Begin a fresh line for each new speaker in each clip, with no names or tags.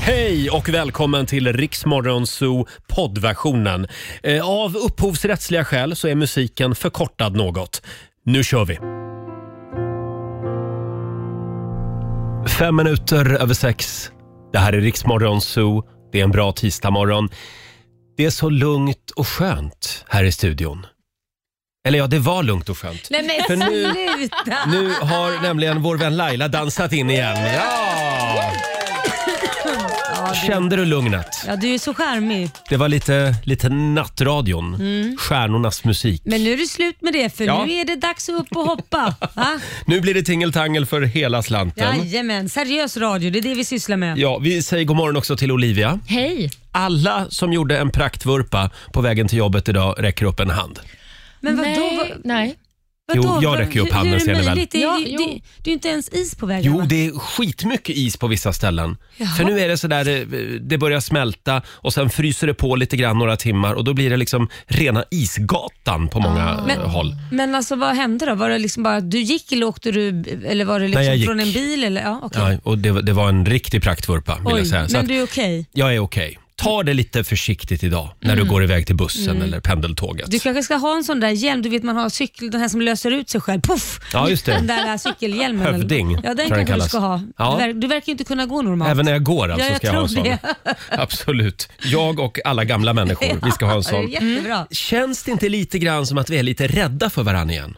Hej och välkommen till Riksmorgon Zoo poddversionen. Eh, Av upphovsrättsliga skäl så är musiken förkortad något. Nu kör vi! Fem minuter över sex. Det här är Riksmorgon Zoo. Det är en bra tisdagmorgon. Det är så lugnt och skönt här i studion. Eller ja, det var lugnt och skönt.
Nej men
För nu-
sluta!
Nu har nämligen vår vän Laila dansat in igen. Ja! Kände du lugnet?
Ja, du är så charmig.
Det var lite, lite nattradion. Stjärnornas musik.
Men nu är det slut med det för
Ja.
nu är det dags att upp och hoppa. Va?
Nu blir det tingeltangel för hela slanten.
Jajamän, seriös radio, det är det vi sysslar med.
Ja, vi säger god morgon också till Olivia.
Hej!
Alla som gjorde en praktvurpa på vägen till jobbet idag räcker upp en hand.
Men vadå?
nej,
vad-
nej.
Jo,
vadå?
jag räcker upp handen,
Hur
ser
är
ni väl?
det möjligt? Det är,
Ja,
ju-
jo.
det, det är ju inte ens is på vägarna.
Jo, det är skitmycket is på vissa ställen. För nu är det sådär, eh, det börjar smälta och sen fryser det på lite grann några timmar och då blir det liksom rena isgatan på många eh,
Men-
håll.
Men alltså vad hände då? Var det liksom bara att du gick eller åkte du eller var det liksom
Nej, jag gick.
från en bil? Eller? Ja, okay.
Ja, och det, det var en riktig praktvurpa vill jag
Oj,
säga. Så
men
att
du är okej.
jag är okej. Ta det lite försiktigt idag när du går iväg till bussen eller pendeltåget.
Mm. Du kanske ska ha en sån där hjälm, du vet man har cykel, den här som löser ut sig själv. Puff!
Ja, just det.
Den där äh, cykelhjälmen. eller-
Hövding,
Ja,
tror jag den
den kanske du
kallas.
ska ha.
Ja.
Du, ver- du verkar ju inte kunna gå normalt.
Även när jag går alltså
Ja, jag
ska jag ha en
tror
sån. Absolut. Jag och alla gamla människor, vi ska ha en
Ja,
sån.
det är jättebra.
Känns det inte lite grann som att vi är lite rädda för varandra igen?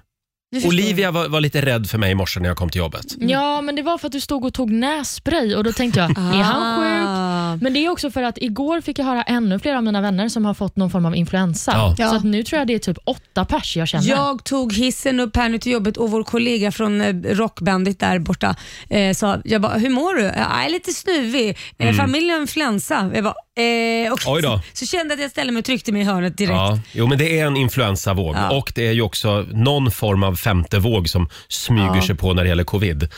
Olivia var, var lite rädd för mig i morse när jag kom till jobbet.
Mm.
Ja, men det var för att du stod och tog nässpray och då tänkte jag, är han sjuk?
Ah.
Men det är också för att igår fick jag höra ännu fler av mina vänner som har fått någon form av influensa.
Ja.
Så att nu tror jag det är typ åtta pers jag känner.
Jag tog hissen upp här nu till jobbet och vår kollega från eh, rockbandet där borta eh, sa, jag bara, hur mår du? Jag är lite snuvig, eh, familjen har influensa. Jag bara, eh, okej.
Mm. Oj då.
Så kände jag att jag ställde mig och tryckte mig i hörnet direkt.
Ja, jo, men det är en influensavåg
Ja.
och det är ju också någon form av femte våg som smyger sig på när det gäller covid.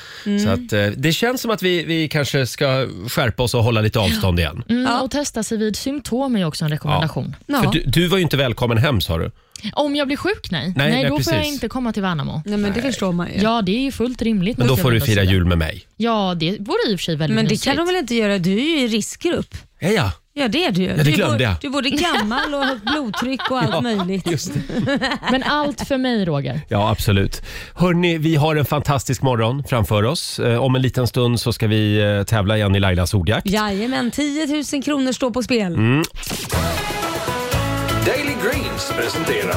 Så att, eh, det känns som att vi, vi kanske ska skärpa oss och hålla lite avstånd igen.
Mm,
Ja.
Och testa sig vid symptom är ju också en rekommendation.
Ja.
För du, du var ju inte välkommen hem sa du.
Om jag blir sjuk, nej.
Nej, nej,
då får jag
precis.
inte komma till Värnamo.
Nej, men det förstår man ju.
Ja, det är ju fullt rimligt.
Men då får du fira jul med mig.
Ja, det vore i och för sig väldigt
Men det
mysigt.
kan de väl inte göra? Du är ju i riskgrupp.
Ja, ja.
Ja det är du ju.
det
du, är
glömde
både-
jag.
du är både gammal och högt blodtryck och allt möjligt.
Just det.
Men allt för mig, Roger.
Ja, absolut. Hörni, vi har en fantastisk morgon framför oss. Eh, Om en liten stund så ska vi eh, tävla igen i Lailas ordjakt.
Jajamän, 10 000 kronor står på spel.
Mm.
Daily Greens presenterar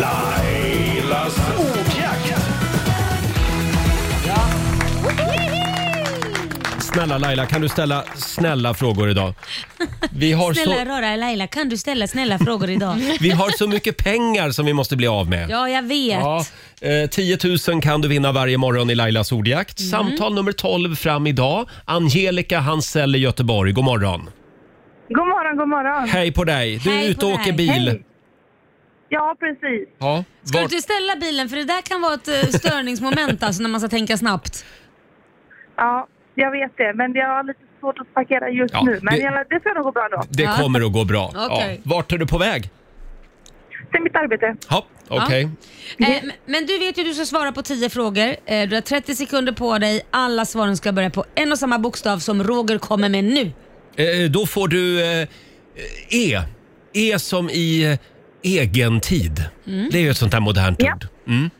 Lailas ordjakt.
Snälla Laila, kan du ställa snälla frågor idag? Vi har, så,
Snälla rara Laila, kan du ställa snälla frågor idag?
vi har så mycket pengar som vi måste bli av med.
Ja, jag vet.
Ja, eh, 10 000 kan du vinna varje morgon i Lailas ordjakt.
Mm.
Samtal nummer 12 fram idag. Angelica Hansell i Göteborg, god morgon.
God morgon, god morgon.
Hej på dig. Du är
Hej
ute
på
och åker
dig.
bil.
Hej. Ja, precis.
Ja,
Ska du
vart-
inte ställa bilen för det där kan vara ett eh, störningsmoment alltså, när man ska tänka snabbt.
Ja, jag vet det. Men jag har lite svårt att parkera just
Ja,
nu. Men
det-
det, jag, det tror jag nog går bra då.
Det
Ja.
kommer att gå bra.
Okej.
Ja. Vart är du på väg?
Till mitt arbete.
Ja, okej.
Eh, men- men du vet ju du ska svara på 10 frågor. Eh, du har 30 sekunder på dig. Alla svaren ska börja på en och samma bokstav som Roger kommer med nu.
Eh, då får du eh, E. E som i eh, egen tid.
Mm.
Det är ju ett sånt där modernt
Ja.
ord. Mm,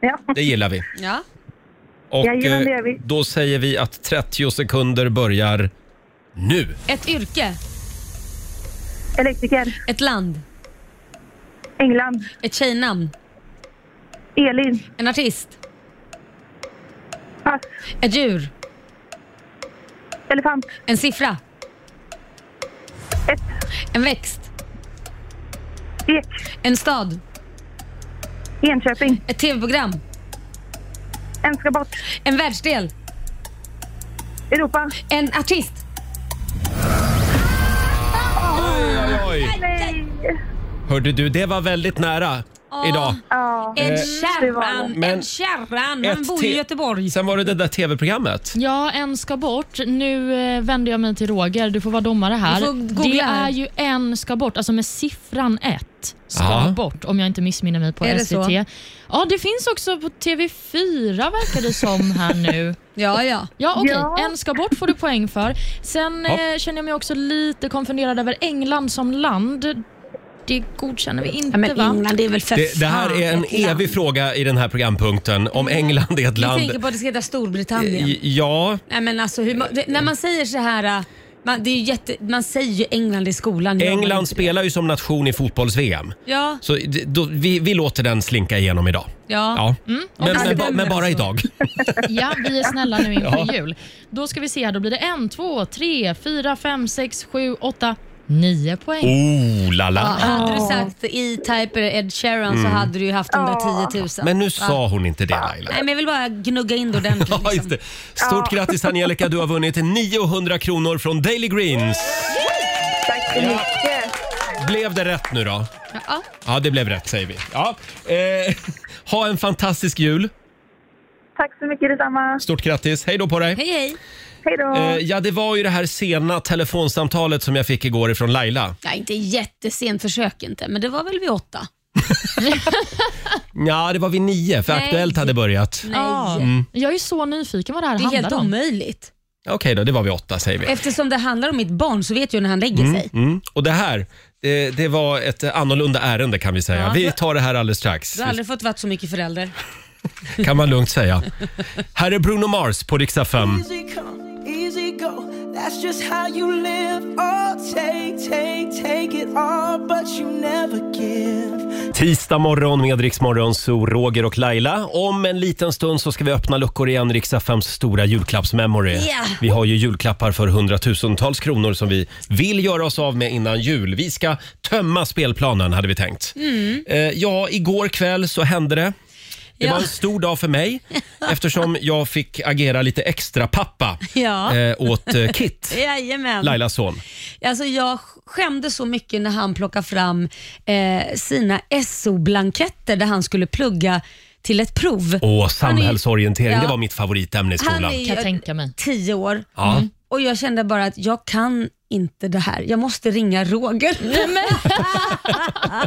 Ja.
det gillar vi.
Ja.
Och eh,
Jajamän, det gör vi.
då säger vi att 30 sekunder börjar nu.
Ett yrke,
Elektriker.
ett land,
England.
ett tjejnamn,
Elin.
en artist,
Pass.
ett djur,
Elefant.
en siffra,
Ett.
en växt,
Ek.
en stad,
Enköping.
ett tv-program,
En ska bort.
en världsdel,
Europa.
en artist.
Oj, oj, oj.
Nej.
Hörde du, det var väldigt nära. idag.
Ja.
En
Eh,
det var det.
kärran,
Men-
en kärran. Han
Ett
bor
till.
i Göteborg.
Sen var det det där tv-programmet.
Ja, en ska bort. Nu eh, vänder jag mig till Roger. Du får vara domare här.
Du får googla
det
här.
är ju en ska bort, alltså med siffran ett ska
Ja.
bort, om jag inte missminner mig på
Är det
SVT.
så?
Ja, det finns också på TV4 verkar det som här nu.
Ja, ja.
Ja, okej.
Ja.
En ska bort får du poäng för. Sen
Ja.
eh, känner jag mig också lite konfunderad över England som land. Det godkänner vi inte,
ja men
va?
England det är väl för
Det, det här
fan
är en
ett land. Mm.
evig fråga i den här programpunkten. Om England är ett
Vi
land...
tänker på att det ska heta Storbritannien.
I- Ja,
Nej, men alltså, hur, ma- när man säger så här, äh, man, det är ju jätte, man säger ju England i skolan. gör man
England
inte det?
spelar ju som nation i fotbolls-VM.
Ja,
Så det- då, vi, vi låter den slinka igenom idag.
ja.
Ja. Men,
alltså,
men, ba,
den
men bara
alltså.
idag.
Ja, vi är snälla nu inför jul. Då ska vi se här, då blir det en, två, tre, fyra, fem, sex, sju, åtta, nio poäng.
Oh la la.
Hade du sagt E-Type eller Ed Sheeran så hade du ju haft de där 10
Mm.
000.
Men nu sa hon inte det Laila.
Nej, men jag vill bara gnugga in det ordentligt.
Ja,
Liksom.
just det. Stort grattis Angelica, du har vunnit 900 kronor från Daily Greens.
Tack så mycket.
Blev det rätt nu då?
Ja.
Ja, det blev rätt säger vi. Ja. Eh, ha en fantastisk jul.
Tack så mycket detsamma.
Stort grattis. Hej då på dig.
Hej, hej.
Hej då.
Eh, ja, det var ju det här sena telefonsamtalet som jag fick igår ifrån Laila.
Ja, inte jättesent försök inte, men det var väl vid åtta?
Ja, det var vid nio för
Nej.
Aktuellt hade börjat.
Nej.
Ja.
Mm.
Jag är så nyfiken vad det här
Det är helt
handlar om.
omöjligt.
Okej då, det var vid åtta säger vi.
Eftersom det handlar om mitt barn så vet jag när han lägger sig.
Mm. Och det här, det, det var ett annorlunda ärende kan vi säga.
Ja.
Vi tar det här alldeles strax.
Du har aldrig fått vara så mycket förälder.
Kan man lugnt säga. Här är Bruno Mars på Riksa 5.
Easy come, easy go. That's just how you live. Oh, take, take, take it all, but you never give.
Tisdag morgon med Rix Morgon, så Roger och Laila. Om en liten stund så ska vi öppna luckor igen, Riksa 5 stora julklappsmemory.
Yeah.
Vi har ju julklappar för hundratusentals kronor som vi vill göra oss av med innan jul. Vi ska tömma spelplanen hade vi tänkt. Eh, ja, igår kväll så hände det. Det
Mm. Ja.
var en stor dag för mig eftersom jag fick agera lite extra pappa
Ja.
eh, åt eh, Kit,
Jajamän.
Lailas son.
Alltså jag skämdes så mycket när han plockade fram eh, sina SO-blanketter där han skulle plugga till ett prov.
Åh, samhällsorientering,
Han är-
det var mitt favoritämne i
Han
skolan.
är Mm.
Kan jag
ju
tänka mig.
tio år
Ja.
och jag kände bara att jag kan inte det här. Jag måste ringa Roger.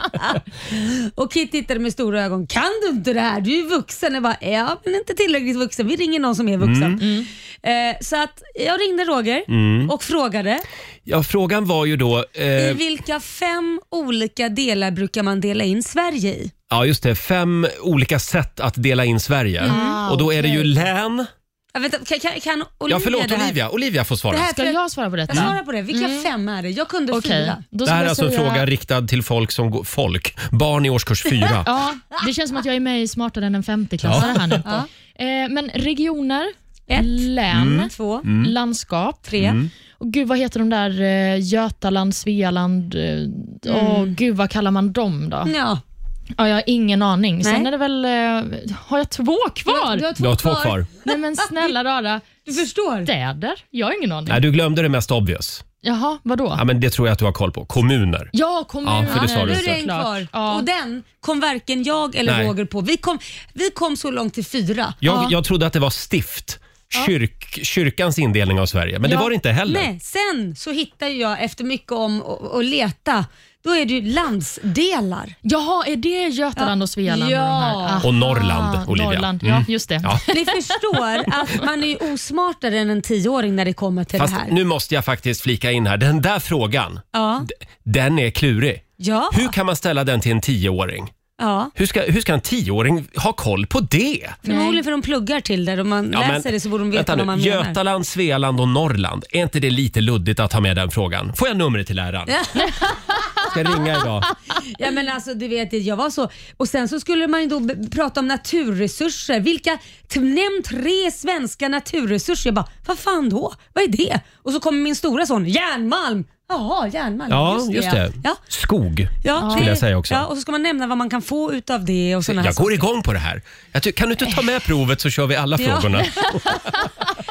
och Kit tittade med stora ögon. Kan du inte det här? Du är ju vuxen. Jag bara, ja men inte tillräckligt vuxen. Vi ringer någon som är vuxen. Eh, så att jag ringde Roger
Mm.
och frågade.
Ja, frågan var ju då...
I
Eh,
vilka fem olika delar brukar man dela in Sverige i?
ja, just det. Fem olika sätt att dela in Sverige.
Mm.
Mm.
Och då är det ju län...
Jag vet, inte, kan, kan, kan Ah, Olivia
Ja, förlåt
det här?
Olivia. Olivia får svara.
Det
Det här,
här-
Ska jag svara på
Jag
Mm.
detta?
svarar på det. Vilka fem är det? Jag kunde
Okej.
fyra.
Då
är
skulle jag
alltså en
säga-
fråga riktad till folk som går, folk, barn i årskurs fyra.
Ja, det känns som att jag är med i Smartare än en 50-klassare här nu.
Ja.
Eh, men regioner,
Ett.
län,
Mm.
Två,
landskap.
tre.
Och gud, vad heter de där eh, Götaland, Svealand? Eh,
Mm.
åh, gud, vad kallar man dem då?
Ja.
Ja, jag har ingen aning. Sen
Nej.
är det väl... Eh, har jag två kvar?
Du har två kvar.
Nej men snälla rara,
Du förstår.
städer? Jag har ingen aning.
Nej, du glömde det mest obvious.
Jaha, vadå?
Ja, men det tror jag att du har koll på. Kommuner.
Ja, kommuner.
Ja, för det sa du
Nu
såklart.
är det
inte.
en kvar
Ja.
och den kom varken jag eller
Nej.
Roger på. Vi kom, vi kom så långt till fyra.
Jag, jag trodde att det var stift. Kyrk, kyrkans indelning av Sverige. Men det
Ja.
var det inte heller.
Nej, sen så hittade jag efter mycket om och, och leta, då är det ju landsdelar.
Jaha, är det Götaland och Svealand?
Ja.
Och, de här?
Och Norrland,
Ah,
Olivia.
Norrland.
Mm.
Ja, just det.
Ja.
Ni förstår att man är ju osmartare än en tioåring när det kommer till
Fast
det här.
nu måste jag faktiskt flika in här. Den där frågan,
Ja.
d- den är klurig.
Ja.
Hur kan man ställa den till en tioåring?
ja.
Hur ska, hur ska en tioåring ha koll på det?
Förmodligen för de pluggar till det. Om man
Ja,
läser det så borde de veta
vänta
vad man
nu.
menar.
Götaland, Svealand och Norrland. Är inte det lite luddigt att ha med den frågan? Får jag numret till läraren? Ska jag ringa idag?
Ja, men alltså, du vet, jag var så. Och sen så skulle man ju då b- prata om naturresurser. Vilka, t- nämn tre svenska naturresurser. Jag bara, vad fan då? Vad är det? Och så kommer min stora son, järnmalm. Jaha, järnmalm.
Ja, just det.
Ja.
Skog.
Ja,
Skulle jag säga också.
Ja, och så ska man nämna vad man kan få utav det och sådana här
Jag går igång på det här. Jag ty- kan du inte ta med provet så kör vi alla
Ja.
frågorna?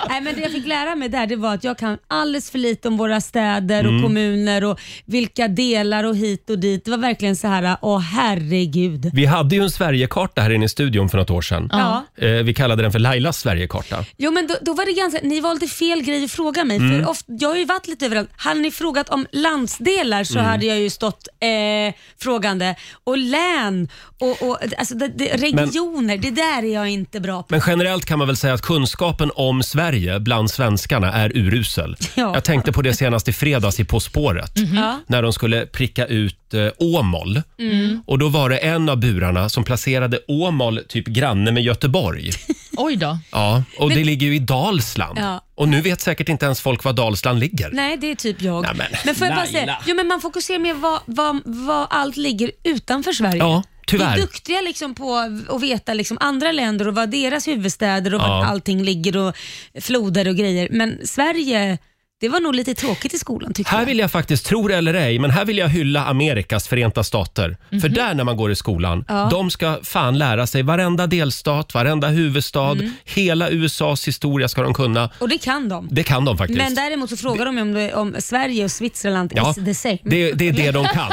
Nej, men det jag fick lära mig där det var att jag kan alldeles för lite om våra städer och
Mm.
kommuner och vilka delar och hit och dit. Det var verkligen så här, åh herregud.
Vi hade ju en Sverigekarta här inne i studion för något år sedan.
Ja.
Eh, Vi kallade den för Lailas Sverigekarta.
Jo men då, då var det ganska, ni valde fel grej att fråga mig.
Mm.
För ofta, jag har ju varit lite överallt. Hade ni frågat om landsdelar
Mm.
så hade jag ju stått eh, frågande. Och län och, och alltså, det, det, regioner, det där är jag inte bra på.
Men generellt kan man väl säga att kunskapen om Sverige bland svenskarna är urusel.
Ja. Mhm.
Jag tänkte på det senast i fredags i På spåret.
Ja.
När de skulle pricka ut eh, Åmål.
Mm.
Och då var det en av burarna som placerade Åmål typ granne med Göteborg.
Oj då.
Ja, och det ligger ju i Dalsland.
Ja.
Och nu vet säkert inte ens folk var Dalsland ligger.
Nej, det är typ jag.
Nej, men
får jag bara säga,
Laila.
jo, men man fokuserar mer vad, vad, vad allt ligger utanför Sverige.
Ja, tyvärr.
Vi är duktiga liksom på att veta liksom andra länder och vad deras huvudstäder och
Ja.
vart allting ligger och floder och grejer. Men Sverige, det var nog lite tråkigt i skolan tycker
Här
jag.
vill jag faktiskt, tror det eller ej, men här vill jag hylla Amerikas förenta stater.
Mhm.
För där när man går i skolan, de ska fan lära sig varenda delstat, varenda huvudstad,
Mm.
hela USAs historia ska de kunna.
Och det kan de.
Det kan de faktiskt.
Men däremot så frågar de ju om, det, om Sverige och Switzerland
Ja,
is the same.
det, det är det de kan.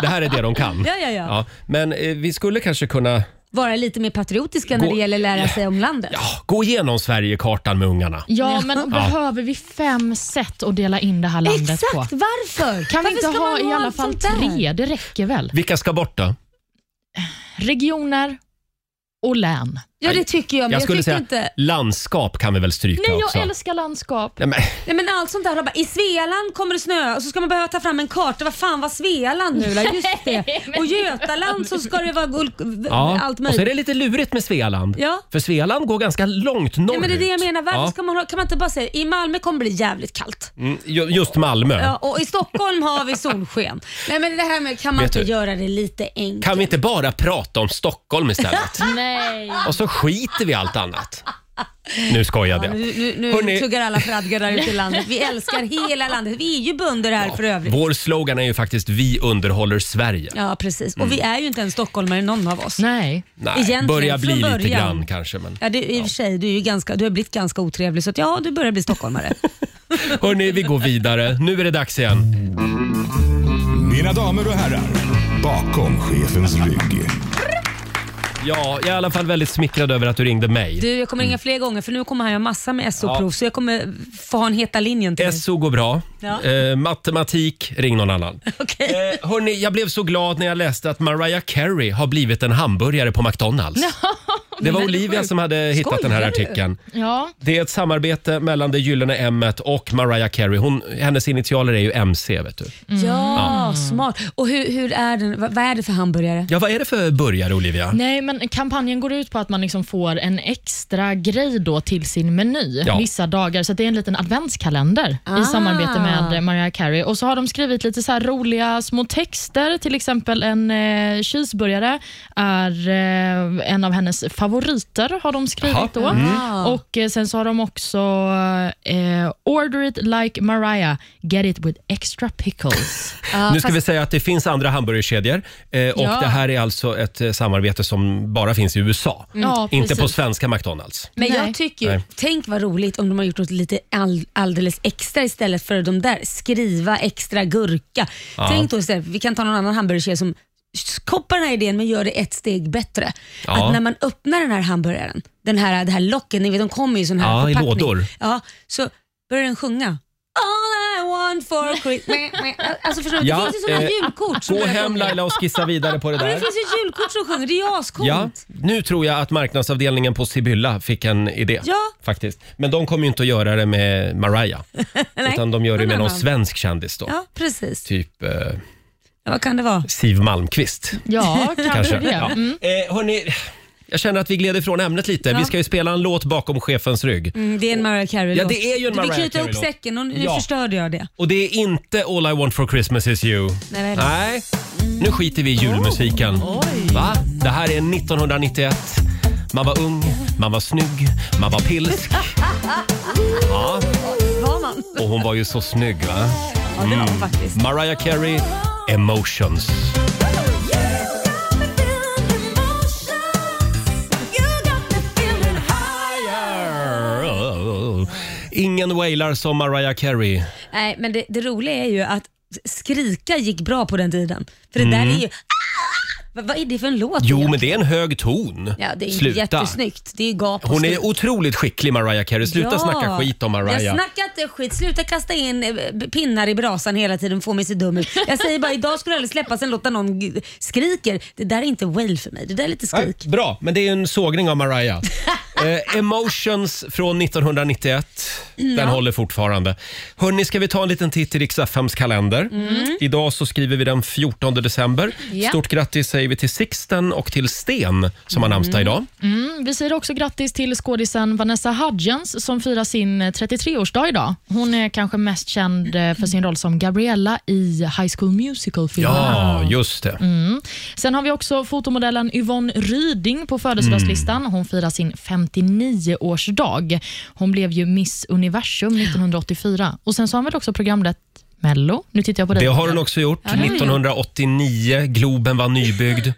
Det här är det de kan.
Ja, ja, ja.
men eh, vi skulle kanske kunna
Vara lite mer patriotiska när
Gå-
det gäller att lära sig om landet.
ja, gå igenom Sverigekartan med ungarna.
Ja, men behöver vi fem sätt att dela in det här landet
Exakt,
på?
varför?
Kan vi
varför
inte
ska man
ha i alla
allt
fall
sånt där?
tre? Det räcker väl?
Vilka ska bort då?
Regioner och län.
Ja, det tycker jag, men
Jag
jag,
skulle
tycker
säga
inte...
landskap kan vi väl stryka
Nej,
också.
jag älskar landskap.
Nej, men,
Nej men allt sånt där, har bara, i Svealand kommer det snö och så ska man behöva ta fram en karta. Vad fan var Svealand nu då? Just det. Och Götaland så ska det vara gul-
ja.
allt
Och
möjligt.
så är det lite lurigt med Svealand.
Ja.
För Svealand går ganska långt norrut.
Nej, men det är det jag menar. Varför
Ja.
ska man, ha- kan man inte bara säga i Malmö kommer det bli jävligt kallt
Mm, ju- Just Malmö.
ja, och i Stockholm har vi solsken. Nej men det här med kan man
Vet
inte
du-
göra det lite enkelt?
Kan vi inte bara prata om Stockholm istället?
Nej.
Och så skiter vi i allt annat. Nu skojade jag.
Nu, nu, nu
Hörrni-
tuggar alla fradgar där ute i landet. Vi älskar hela landet. Vi är ju bönder här för övrigt.
Vår slogan är ju faktiskt “Vi underhåller Sverige”.
Ja precis. Och
Mm.
vi är ju inte en stockholmare någon av oss.
Nej.
Nej,
Egentligen,
börjar
från
bli lite
början.
grann kanske. Men.
Ja, det, i och för sig, du, är ju ganska, du har blivit ganska otrevlig så att, ja, du börjar bli stockholmare.
Hörni, vi går vidare. Nu är det dags igen.
Mina damer och herrar, bakom chefens rygg.
Ja, jag är i alla fall väldigt smickrad över att du ringde mig.
Du, jag kommer ringa fler gånger för nu kommer han göra massa med SO-prov så jag kommer få ha en heta linjen till dig.
SO går bra.
Ja.
Eh, matematik, ring någon annan.
Okej.
Eh, hörni, jag blev så glad när jag läste att Mariah Carey har blivit en hamburgare på McDonalds. Det var Olivia som hade hittat den här
Skojar du?
artikeln.
Ja.
Det är ett samarbete mellan det gyllene M och Mariah Carey. Hon, hennes initialer är ju MC. Vet du.
Ja, smart. Och hur, hur är den, vad, vad är det för hamburgare?
Ja, vad är det för burgare, Olivia?
Nej, men kampanjen går ut på att man liksom får en extra grej då till sin meny
Ja.
vissa dagar. Så att det är en liten adventskalender
Ah.
i samarbete med eh, Mariah Carey. Och så har de skrivit lite så här roliga små texter. Till exempel en eh, cheeseburgare är eh, en av hennes favoriter, har de
Jaha.
skrivit då.
Mm.
Och eh, Sen så har de också eh, “Order it like Mariah, get it with extra pickles”.
Ja,
nu ska
fast-
vi säga att det finns andra hamburgerkedjor eh, och
Ja.
det här är alltså ett eh, samarbete som bara finns i USA.
Ja,
Inte på
precis.
svenska McDonalds.
men
Nej.
jag tycker ju,
Nej.
tänk vad roligt om de har gjort något lite all, alldeles extra istället för de där skriva extra gurka.
Ja.
Tänk då istället, vi kan ta någon annan hamburgerkedja som koppar den här idén men gör det ett steg bättre.
Ja.
Att när man öppnar den här hamburgaren, den här, det här locket, ni vet de kommer ju i sån här
Ja, i
förpackning.
lådor.
Ja, så börjar den sjunga. All I want for Christmas. Alltså förstår du,
Ja,
det finns ju sådana
eh,
julkort. som
Gå
börjar
hem
sjunga.
Laila och skissa vidare på det
Men det
där.
finns ju julkort som sjunger, det är ju ascoolt.
Ja, nu tror jag att marknadsavdelningen på Sibylla fick en idé.
Ja.
Faktiskt. Men de kommer ju inte att göra det med Mariah.
Nej,
utan de gör det
någon
med någon
annan.
svensk kändis då.
Ja, precis.
Typ eh,
Ja, vad kan det vara?
Siv Malmqvist.
Ja, kanske
Kanske.
det.
Ja.
Mm.
Eh, hörni, jag känner att vi gled ifrån ämnet lite. Vi ska ju spela en låt bakom chefens rygg.
Mm, det är en Mariah Carey-låt.
Ja, det är ju en
Du
Mariah
vill knyta upp
Carey-låt.
säcken och nu
Ja.
förstörde jag det.
Och det är inte All I want for Christmas is you.
Nej, Oh. vad är det?
Nej, nu skiter vi i julmusiken. Va? Det här är 1991. Man var ung, man var snygg, man var pilsk. Ja,
Var man?
och hon var ju så snygg va? Mm.
Ja, det var man faktiskt.
Mariah Carey, Emotions. Ingen wailar som Mariah Carey.
Nej, men det, det roliga är ju att skrika gick bra på den tiden. För det där är ju... Ah! Vad, vad är det för en låt?
Mm. Jo,
egentligen?
men det är en hög ton.
Ja, det är ju
Sluta.
jättesnyggt. Det är ju gap och
Hon
slut.
är otroligt skicklig Mariah Carey. Sluta
Ja.
snacka skit om
Jag
Mariah.
snackar inte skit. Sluta kasta in eh, b- pinnar i brasan hela tiden och få mig se dum ut. Jag säger bara idag skulle det aldrig släppas en låt där någon g- skriker. Det där är inte wail för mig. Det där är lite
Nej,
skrik.
bra, men det är en sågning av Mariah. eh, Emotions från 1991. Den håller fortfarande. Hörni, ska vi ta en liten titt i Riks-FMs kalender? Idag så skriver vi den 14 december.
Ja.
Stort grattis säger vi till Sixten och till Sten som har namnsdag idag.
Mm, vi säger också grattis till skådisen Vanessa Hudgens som firar sin 33-årsdag idag. Hon är kanske mest känd eh, för sin roll som Gabriella i High School Musical-filmen.
Ja, just det.
Sen har vi också fotomodellen Yvonne Ryding på födelsedagslistan.
Mm.
Hon firar sin 59-årsdag. Hon blev ju Miss Universum 1984. Och Sen så har hon väl också programlett Mello. Nu tittar jag på dig.
Det har hon också gjort. 1989, Globen var nybyggd.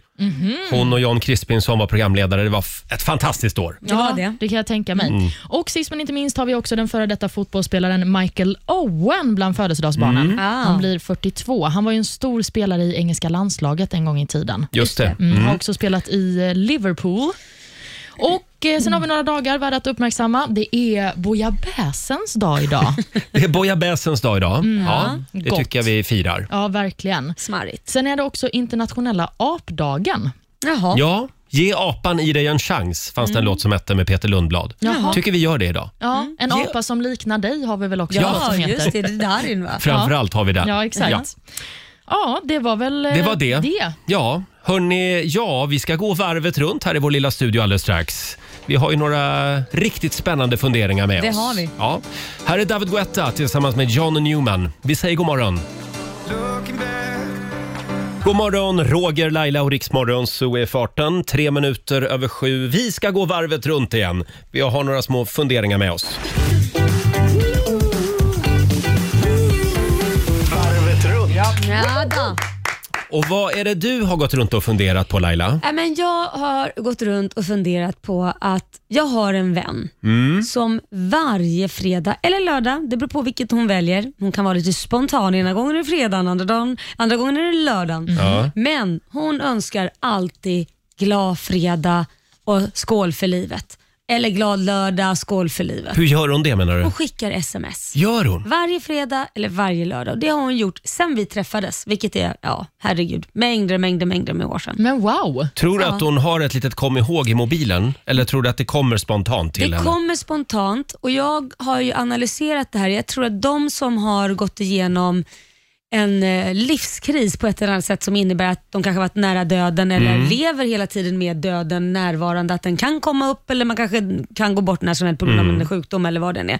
Hon och Jan Crispinson var programledare. Det var f- ett fantastiskt år.
Det var det.
kan jag tänka mig.
Mm.
Och Sist men inte minst har vi också den före detta fotbollsspelaren Michael Owen bland födelsedagsbarnen.
Mm.
Ah.
Han blir 42. Han var ju en stor spelare i engelska landslaget en gång i tiden.
Just det.
Mm, Har också spelat i eh, Liverpool. Och eh, Sen har vi några dagar värda att uppmärksamma. Det är bouillabaissens dag idag.
Det är bojabäsens dag idag. Mm. ja, det
Gott.
tycker jag vi firar.
ja, verkligen.
Smarrigt.
Sen är det också internationella apdagen.
Jaha.
Ja, Ge apan i dig en chans fanns det en låt som hette med Peter Lundblad.
Jaha.
Tycker vi gör det idag.
Ja, En apa som liknar dig har vi väl också en låt
Ja,
som heter.
just det. Det är Darin va?
Framförallt har vi den.
Ja, exakt. Ja. det var väl eh,
Det var det. Ja, hörni, ja, vi ska gå varvet runt här i vår lilla studio alldeles strax. Vi har ju några riktigt spännande funderingar med
Det
oss.
har vi.
Ja. Här är David Guetta tillsammans med John Newman. Vi säger god morgon. God morgon, Roger, Laila och Riksmorgon, så är farten. Tre minuter över sju. Vi ska gå varvet runt igen. Vi har några små funderingar med oss.
Ja, då.
Och vad är det du har gått runt och funderat på Laila?
Nej, men jag har gått runt och funderat på att jag har en vän som varje fredag eller lördag, det beror på vilket hon väljer. Hon kan vara lite spontan. Ena gången är det fredagen, andra, dagen, andra gången är det lördagen.
Ja.
Men hon önskar alltid glad fredag och skål för livet. Eller glad lördag, skål för livet.
Hur gör hon det menar du?
Hon skickar sms.
Gör hon?
Varje fredag eller varje lördag. Och Det har hon gjort sen vi träffades, vilket är, ja herregud, mängder, mängder, mängder med år sedan.
Men wow.
Tror du att hon har ett litet kom ihåg i mobilen? Eller tror du att det kommer spontant till
det
henne?
kommer spontant och jag har ju analyserat det här. Jag tror att de som har gått igenom en eh, livskris på ett eller annat sätt som innebär att de kanske varit nära döden eller lever hela tiden med döden närvarande, att den kan komma upp eller man kanske kan gå bort när som helst på grund av en sjukdom eller vad den är.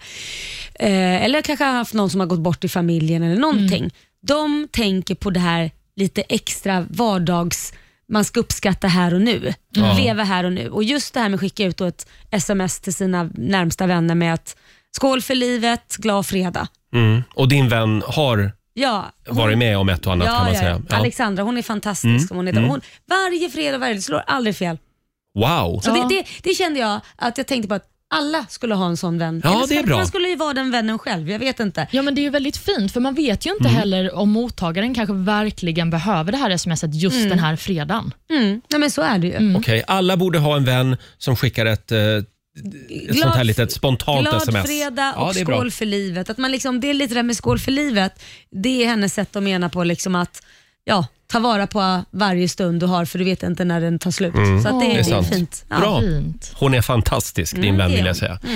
Eh, eller kanske har haft någon som har gått bort i familjen eller någonting.
Mm.
De tänker på det här lite extra vardags, man ska uppskatta här och nu. Leva här och nu. Och just det här med att skicka ut då ett sms till sina närmsta vänner med att skål för livet, glad fredag.
Mm. Och din vän har
Ja, hon-
varit med om ett och annat kan man säga. Ja. Mm.
Alexandra hon är fantastisk. Som hon heter. Hon, varje fredag, varje slår aldrig fel.
Wow!
Så
Ja.
det, det, det kände jag att jag tänkte på att alla skulle ha en sån vän.
Ja,
Eller så
det är
kanske
bra.
Man skulle ju vara den vännen själv, jag vet inte.
Ja, men det är ju väldigt fint, för man vet ju inte
Mm.
heller om mottagaren kanske verkligen behöver det här smset just den här fredagen.
Mm. Nej, men så är det ju.
Okej, alla borde ha en vän som skickar ett, eh, ett sånt här litet spontant
glad
sms.
fredag och
ja, det är bra.
skål för livet. Att man liksom, det är lite det här med skål för livet. Det är hennes sätt att mena på liksom att ja, ta vara på varje stund du har för du vet inte när den tar slut. Så att det,
Det
det,
är
är
Mm. sant.
fint. Ja.
Bra.
Fint.
Hon är fantastisk, din
Mm,
vän
det är
vill jag
hon.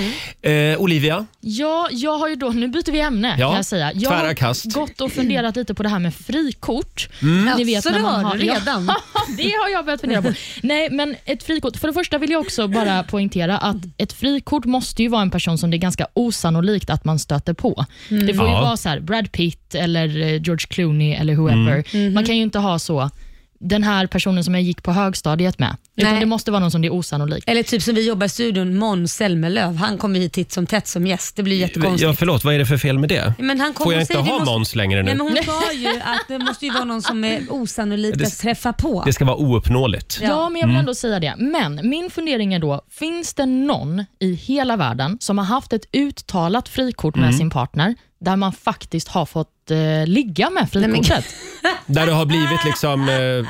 säga. Eh, Olivia,
Ja, jag har ju då, nu byter vi ämne
Ja,
kan jag säga. Jag
tvära kast. Mm.
har gått och funderat lite på det här med frikort.
Ja, så det har Alltså, du
ja,
redan.
det har jag börjat fundera på. Nej, men ett frikort. För det första vill jag också bara poängtera att ett frikort måste ju vara en person som det är ganska osannolikt att man stöter på.
Mm.
Det får ju
Ja.
Mm. Mm-hmm.
vara så här Brad Pitt eller eh, George Clooney eller whoever. Man kan ju inte ha så den här personen som jag gick på högstadiet med. Utan
Nej.
det måste vara någon som det är osannolikt.
Eller typ som vi jobbar i studion, Måns Zelmerlöw. Han kommer hit titt som tätt som gäst. Det blir jättekonstigt.
Ja, förlåt, vad är det för fel med det?
Men han kom
Får jag
och
inte
säger, vi
ha
måste-
Måns längre
Nej,
nu?
men hon sa ju att det måste ju vara någon som är osannolik
Det-
att träffa på.
Det ska vara ouppnåeligt.
Ja.
Ja, men jag vill ändå säga det. Men min fundering är då, finns det någon i hela världen som har haft ett uttalat frikort med sin partner, där man faktiskt har fått eh, ligga med
men-
frikortet?
Där det har blivit liksom eh,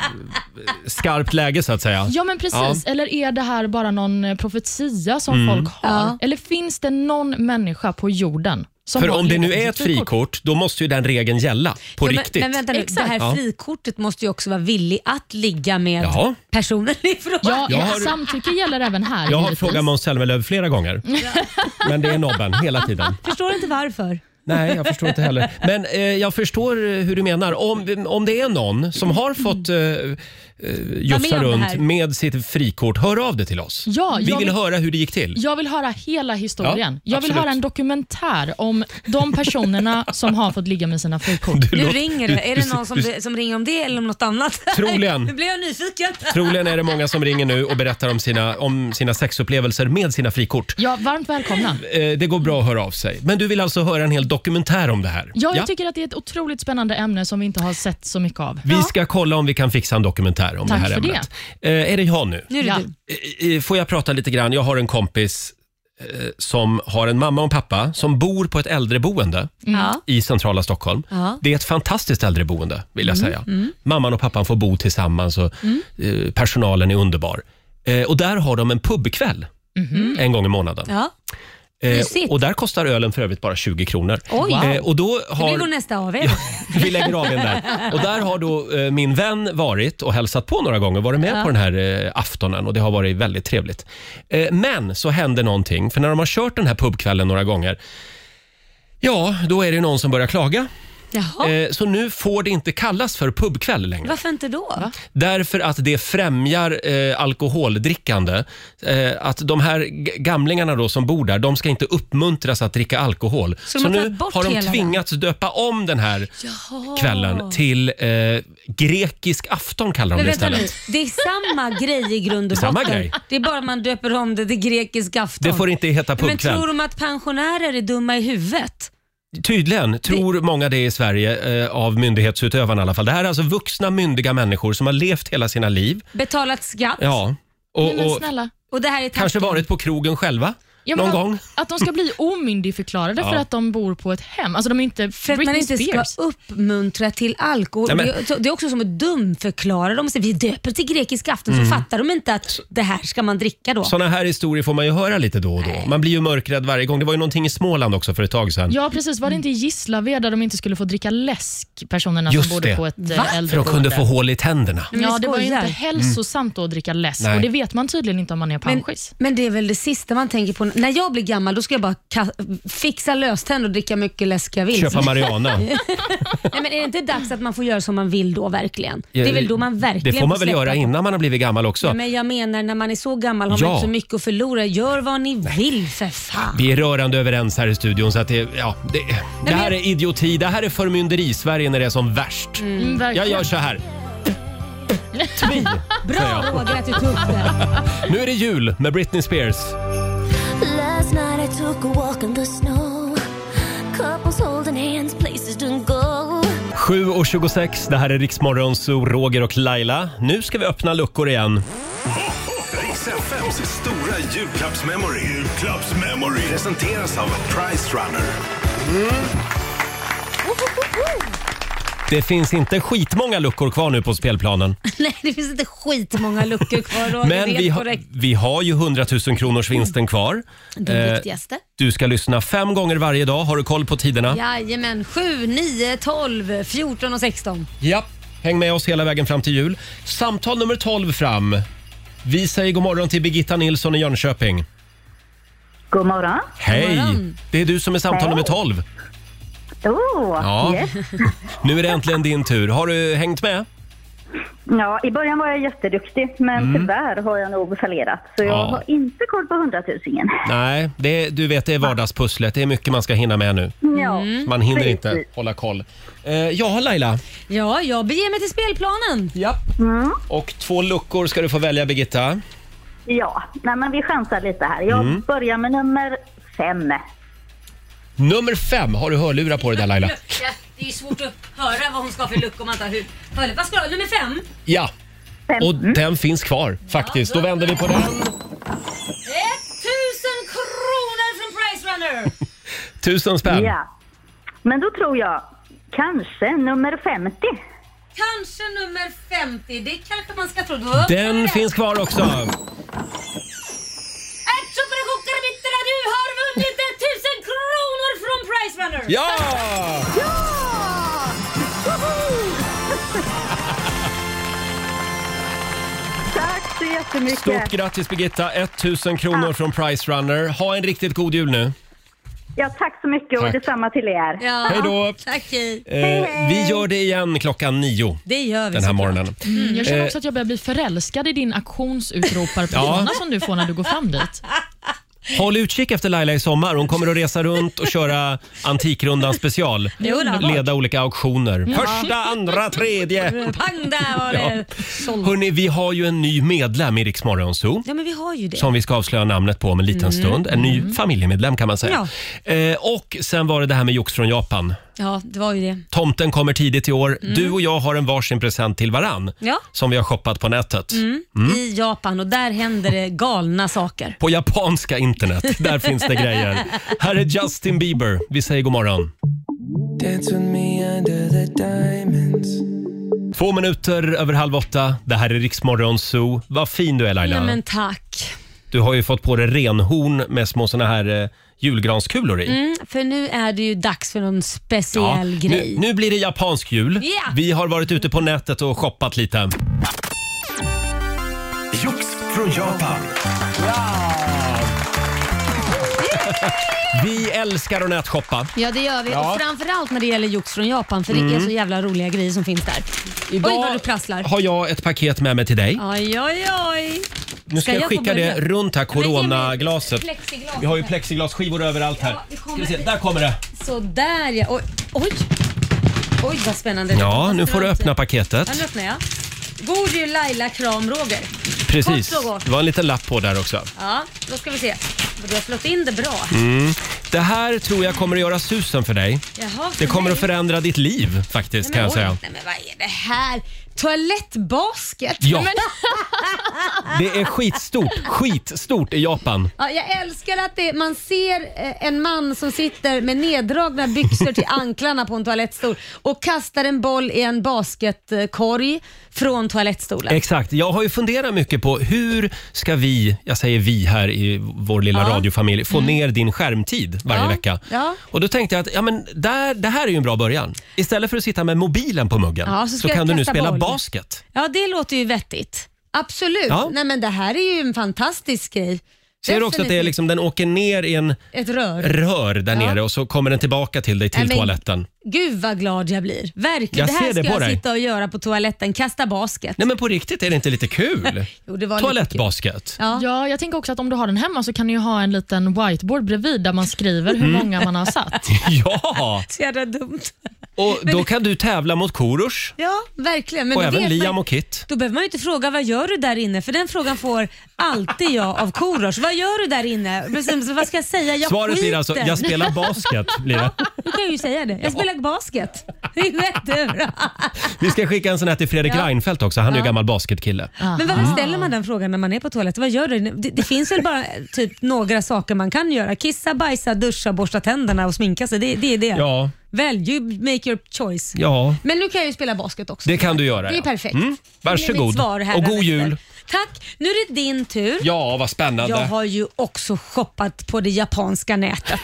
skarpt läge så att säga.
Ja, men precis. Eller är det här bara någon eh, profetia som
Mm.
folk har?
Ja.
Eller finns det någon människa på jorden som
För
har
om det nu
legat
är
med
ett
sitt
frikort, då måste ju den regeln gälla på
Ja, men,
riktigt.
Men vänta nu,
Exakt.
det här
Ja.
frikortet måste ju också vara villig att ligga med
Jaha.
personen ifrån.
Ja, eh,
Jag har-
samtycke gäller även här.
Jag har
givetvis.
frågat Måns Zelmerlöw flera gånger, men det är nobben hela tiden.
Förstår inte varför.
Nej, jag förstår inte heller. Men eh, jag förstår eh, hur du menar. Om, om det är någon som har fått eh, eh,
med
jufsa
om det
runt
här.
med sitt frikort, hör av dig till oss.
Ja,
Vi
jag
vill,
vill-
höra hur det gick till.
Jag vill höra hela historien.
Ja,
jag vill
absolut.
höra en dokumentär om de personerna som har fått ligga med sina frikort.
Du
Nu
låter-
ringer
du-
det. Är
du-
det någon som,
du-
som ringer om det eller om något annat?
Troligen.
nu blir jag nyfiken.
Troligen är det många som ringer nu och berättar om sina, om sina sexupplevelser med sina frikort.
Ja, varmt välkomna.
Eh, det går bra att höra av sig. Men du vill alltså höra en hel dokumentär om det här?
Ja, jag tycker att det är ett otroligt spännande ämne som vi inte har sett så mycket av.
Vi ska kolla om vi kan fixa en dokumentär om
Tack
det här
för
ämnet. Eh, är det jag nu?
Nu är det
Ja.
du.
Eh, eh, Får jag prata lite grann? Jag har en kompis eh, som har en mamma och en pappa som bor på ett äldreboende
Mm. Ja.
i centrala Stockholm.
Ja. Mm.
Det är ett fantastiskt äldreboende vill jag säga. Mamman och pappan får bo tillsammans och eh, personalen är underbar. Eh, och där har de en pubkväll en gång i månaden.
Mm. Ja.
Eh,
mysigt.
och där kostar ölen för övrigt bara 20 kronor.
Oj.
Eh, och då
Det
har...
blir vår nästa AW.
Ja, vi lägger av den där. Och där har då eh, min vän varit och hälsat på några gånger, varit med på den här eh, aftonen och det har varit väldigt trevligt. Eh, men så hände någonting, för när de har kört den här pubkvällen några gånger, ja, då är det någon som börjar klaga.
Jaha.
Eh, så nu får det inte kallas för pubkväll längre.
Varför inte då?
Därför att det främjar eh, alkoholdrickande. Eh, att de här g- gamlingarna då som bor där, de ska inte uppmuntras att dricka alkohol.
Så
Så,
de har tagit
nu
bort
har de
hela den?
tvingats döpa om den här
Jaha.
kvällen till eh, grekisk afton kallar de
Men
det
vänta nu,
istället.
det är samma grej i grund och
Det är samma
botten.
grej.
Det är bara man döper om det till grekisk afton.
Det får inte heta
Men
pubkväll.
tror de att pensionärer är dumma i huvudet?
Tydligen tror många det i Sverige eh, av myndighetsutövarna i alla fall. Det här är alltså vuxna myndiga människor som har levt hela sina liv.
Betalat skatt
Ja. Och,
Nej, men
och
snälla.
och det här är
kanske
tacken.
varit på krogen själva
Ja, men
någon
att,
gång.
Att de ska bli omyndigförklarade för
Ja.
att de bor på ett hem. Alltså de är inte
För att man
Britney
inte ska
Spears.
uppmuntra till alkohol.
Nej, men-
Det är- Det är också som att dumförklara dem. Så Vi döper till grekisk afton
Mm.
så fattar de inte att det här ska man dricka då.
Såna här historier får man ju höra lite då och då. Man blir ju mörkrädd varje gång. Det var ju någonting i Småland också för ett tag sedan.
Ja, precis. Var det inte i Gislaved där de inte skulle få dricka läsk, personerna
Just
som bodde
det.
på ett eh,
för de
äldreboende?
kunde få hål i tänderna.
Men
Ja,
ni
det var ju inte
skojar.
hälsosamt då att dricka läsk
Nej.
och det vet man tydligen inte om man är
Men,
panschis.
men det är väl det sista man tänker på. När jag blir gammal då ska jag bara ka- fixa löständer och dricka mycket läsk jag vill.
Köpa Mariana.
Nej, men är det inte dags att man får göra som man vill då verkligen? det är väl då man verkligen
Det får man väl
släppa
göra
på.
innan man har blivit gammal också.
Men jag menar när man är så gammal har
Ja.
man inte så mycket att förlora. Gör vad ni vill för fan.
Vi är rörande överens här i studion så att det, ja, det, det här är idioti. Det här är förmynderi-Sverige när det är som värst.
Mm,
Jag
verkligen.
gör så här. Tvi! säger
Bra
jag.
Roger att du tog upp det.
Nu är det jul med Britney Spears.
Last night I took a walk in the snow. Couples holding hands, places don't go.
7.26, det här är Riksmorgon, så Roger och Laila. Nu ska vi öppna luckor igen.
Riks FMs stora julklappsmemory. Julklappsmemory. Presenteras av Price Runner.
Det finns inte skitmånga luckor kvar nu på spelplanen.
Nej, det finns inte skitmånga luckor kvar. Roger.
Men
det är
vi,
helt
har,
korrekt. Mm.
vi har ju 100 000 kronors vinsten kvar.
Det
Eh,
viktigaste.
Du ska lyssna fem gånger varje dag. Har du koll på tiderna?
Jajamän, 7, 9, 12, 14 och 16.
Ja. Häng med oss hela vägen fram till jul. Samtal nummer 12 fram. Vi säger god morgon till Birgitta Nilsson i Jönköping.
God morgon.
Hej! Det är du som är samtal nummer 12.
Oh,
Ja. Nu är det äntligen din tur. Har du hängt med?
Ja, i början var jag jätteduktig, men tyvärr har jag nog fallerat. Så
Mm.
jag
Ja.
har inte koll på hundratusingen.
Nej, det, är- du vet det är vardagspusslet. Det är mycket man ska hinna med nu.
Ja.
Man hinner inte
Precis.
hålla koll. Eh, Jaha Laila.
Ja, jag beger mig till spelplanen.
Ja.
Mm.
Och två luckor ska du få välja Birgitta.
Ja, nej men vi chansar lite här. Jag
Mm.
börjar med nummer fem.
Nummer fem. Har du hörlurar på dig där Laila?
Lucka. Det är ju svårt att höra vad hon ska ha för lucka om man inte har hud. Hörru, Vad ska du ha? Nummer fem?
Ja.
Fem. Mm.
Och den finns kvar faktiskt. Då vänder vi på den.
1000 kronor från Price Runner.
Tusen spänn.
Ja. Men då tror jag kanske nummer 50.
Kanske nummer 50. Det kanske man ska tro. Då öppnar vi
Den finns kvar också.
Ärtsoppan och kokta bitterna. Du har vunnit 1000 kronor från Price Runner.
Ja!
Tack så jättemycket.
Stort grattis Birgitta. 1000 kronor från Price Runner. Ha en riktigt god jul nu.
Ja, tack så mycket
Tack.
och detsamma till er.
Ja.
Hej då.
Tack, hej.
Eh, vi gör det igen klockan nio
Det gör vi.
den här
såklart.
morgonen.
Mm, jag känner
Eh.
också att jag börjar bli förälskad i din auktionsutroparpinna
Ja.
som du får när du går fram dit.
Håll utkik efter Laila i sommar. Hon kommer att resa runt och köra Antikrundan special.
Jo då.
Leda olika auktioner. Första, andra, tredje.
Pang där var det. Såld.
Hörni, vi har ju en ny medlem i Rix Morgon Zoo.
Ja men vi har ju det.
som vi ska avslöja namnet på om en liten stund. En ny familjemedlem kan man säga. Eh, och sen var det det här med jox från Japan.
Ja det var ju det.
Tomten kommer tidigt i år. Du och jag har en varsin present till varann
Mm. Ja. Mm.
som vi har shoppat på nätet. Mm.
I Japan och där händer det galna saker.
På japanska internet, där finns det grejer. Här är Justin Bieber. Vi säger god morgon. Två minuter över halv åtta. Det här är Riksmorgon Zoo. Vad fin du är Laila.
Ja men tack.
Du har ju fått på dig renhorn med små såna här eh, julgranskulor i.
Mm, för nu är det ju dags för någon
Ja,
speciell grej.
nu, nu blir det japansk jul.
Ja.
Vi har varit ute på nätet och shoppat lite.
Jox från Japan.
Vi älskar att nätshoppa.
Ja det gör vi
Ja. Mm.
och framförallt när det gäller jox från Japan för det är så jävla roliga grejer som finns där. Oj vad du prasslar.
har jag ett paket med mig till dig.
Oj oj oj.
Nu ska
Ska
jag
jag
skicka
få börja?
det runt här
men ge mig
coronaglaset.
plexiglas.
Vi har ju plexiglasskivor överallt här.
Ja, det
Ska
kommer-
vi se, där kommer det.
Sådär ja. Oj. Oj, oj vad spännande.
Ja, nu får du öppna
Ja,
paketet.
nu öppnar jag. God jul Laila, kram Roger.
Precis.
Kort och gott.
Det var en liten lapp på där också.
Ja, då ska vi se. Du har slått in det bra.
Det här tror jag kommer att göra susen för dig.
Jaha,
Det kommer
nej.
att förändra ditt liv
Nej,
faktiskt
men
kan jag
oj.
säga.
Nej men vad är det här? Toalettbasket?
Ja.
Men,
Det är skitstort,
Ah.
skitstort i Japan.
ja, jag älskar att det, man ser eh, en man som sitter med neddragna byxor till anklarna på en toalettstol och kastar en boll i en basketkorg från toalettstolen.
Exakt. Jag har ju funderat mycket på hur ska vi, jag säger vi här i vår lilla
Ja. Mm.
radiofamilj, få ner din skärmtid varje
Ja,
vecka.
ja.
Och då tänkte jag att ja, men där, det här är ju en bra början. Istället för att sitta med mobilen på muggen
Ja, så
så,
ska jag
kan du nu
kasta
spela
boll.
basket.
Ja, det låter ju vettigt. Absolut.
Ja.
Nej men det här är ju en fantastisk grej.
Ser du också att det är
Definitivt
liksom, den åker ner i en
ett rör?
rör där
Ja.
nere och så kommer den tillbaka till dig till
Nej, men-
toaletten.
Gud vad glad jag blir. Verkligen.
Jag
det här
ser det
ska
på
jag
dig.
sitta och göra på toaletten. Kasta basket.
Nej men på riktigt, är det inte lite kul?
Jo, det var lite
Toalettbasket.
Ja.
Ja, jag tänker också att om du har den hemma så kan du ju ha en liten whiteboard bredvid där man skriver
Mm.
hur många man har satt.
Ja!
Så jävla dumt.
Och då kan du tävla mot Korosh
Ja, verkligen. Men
och
då
även
vet man-
Liam och Kit.
Då behöver man ju inte fråga vad gör du där inne? För den frågan får alltid jag av Korosh. Vad gör du där inne? Precis, Vad ska jag säga? Jag
Svaret blir
skiter.
alltså, jag spelar basket. Blir det.
Du kan ju säga det. Jag spelar basket. Det är ju jättebra.
Vi ska skicka en sån här till Fredrik
Ja.
Reinfeldt också. Han är ju gammal basketkille.
Men varför ställer man den frågan när man är på toaletten? Vad gör du? Det, det finns väl bara eh, typ några saker man kan göra? Kissa, bajsa, duscha, borsta tänderna och sminka sig. Det, det är det.
Ja,
Väl, you make your choice.
ja.
Men nu kan jag ju spela basket också.
Det kan du göra.
Det är
ja.
perfekt.
Mm.
Det är mitt
Varsågod.
svar här
Och god
därefter.
jul.
Tack. Nu är det din tur.
Ja, vad spännande.
Jag har ju också shoppat på det japanska nätet.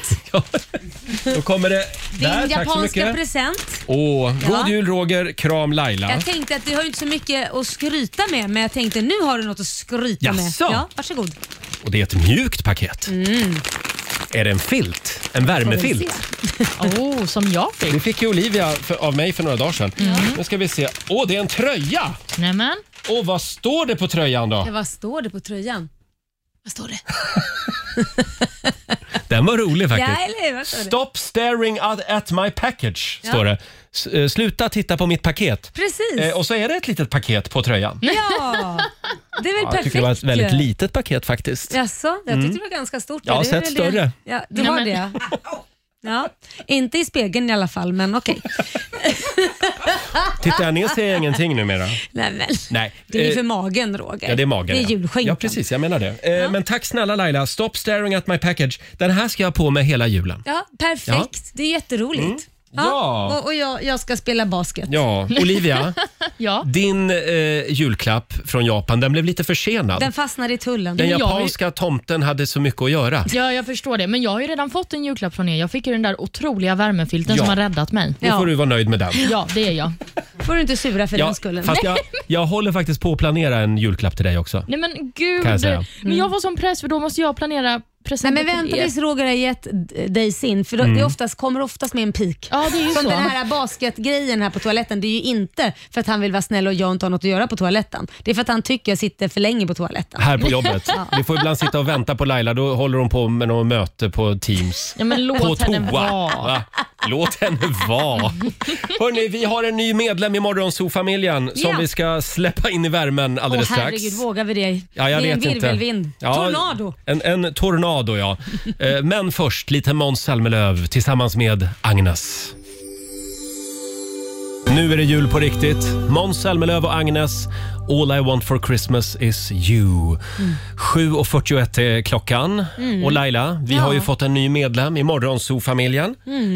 Då kommer det
Din
där. Tack så
japanska
mycket.
present.
Åh, god
Ja.
jul Roger. Kram Laila.
Jag tänkte att du har ju inte så mycket att skryta med, men jag tänkte nu har du något att skryta med.
Jaså?
Ja, varsågod. Mm.
Och det är ett mjukt paket. Är det en filt? En värmefilt?
Oh, som jag
Det
fick.
fick ju Olivia för, av mig för några dagar sedan.
Mm.
Nu ska vi se. Åh, det är en tröja!
Nämen.
Och vad står det på tröjan då?
Ja, vad står det på tröjan? Vad står det?
Den var rolig
Ja,
faktiskt.
eller hur? Vad står det?
Stop staring at, at my package, står det. S- eh, sluta titta på mitt paket.
Precis.
Eh, och så är det ett litet paket på tröjan.
Ja, det är väl
Ja, jag
perfekt.
tycker det var ett väldigt litet paket faktiskt.
Jaså, jag tyckte det var ganska stort.
Jag har
Det är
sett
väl
större.
Det. Ja, du
Nej,
har
men-
det ja. ja. Inte i spegeln i alla fall, men okej.
Tittar jag ner ser jag ingenting numera.
Nej, men.
Nej.
Det är ju
eh,
för magen Roger.
Ja, det är magen.
Det är
ja.
julskinkan.
Ja, precis. Jag menar det. Eh, Men tack snälla Laila. Stop staring at my package. Den här ska jag ha på mig hela julen.
Ja, perfekt.
Ja. Mm.
Det är jätteroligt.
Ja.
Och, och jag, jag ska spela basket.
Ja, Olivia.
Ja.
Din eh, julklapp från Japan, den blev lite försenad.
Den
Den,
fastnar i tullen.
jag-
japanska tomten hade så mycket att göra.
ja, jag förstår det. Men jag har ju redan fått en julklapp från er. Jag fick ju den där otroliga värmefilten
Ja.
som har räddat mig.
Nu får du vara nöjd med den.
Ja, det är jag.
får du inte sura för den skullen.
fast jag, jag håller faktiskt på att planera en julklapp till dig också.
Nej men gud.
Kan jag säga.
Men jag var som press för då måste jag planera
Nej,
presenter
men
till
vänta
er.
tills Roger har gett d- dig sin, för då,
Mm.
det oftast, kommer oftast med en pik.
Ja, det är ju
Som
så.
den här basketgrejen här på toaletten, det är ju inte för att han vill vara snäll och jag inte har något att göra på toaletten. Det är för att han tycker jag sitter för länge på toaletten.
Här på jobbet. Vi får ibland sitta och vänta på Laila. Då håller hon på med något möte på Teams.
Ja, men låt
på
henne
toa.
vara.
Va? Låt henne vara. Hörni, vi har en ny medlem i Morgonzoo-familjen som
Ja.
vi ska släppa in i värmen
Åh
alldeles strax.
herregud, vågar vi det?
Ja, jag
det är
vet
en
inte.
virvelvind.
Ja,
Tornado.
En, en tornado, ja. Eh, Men först lite Måns Zelmerlöw tillsammans med Agnes. Nu är det jul på riktigt. Måns Zelmerlöw och Agnes. All I want for Christmas is you. 7.41 är klockan.
Mm.
Och Laila, vi har ju fått en ny medlem i Morgonzoo-familjen.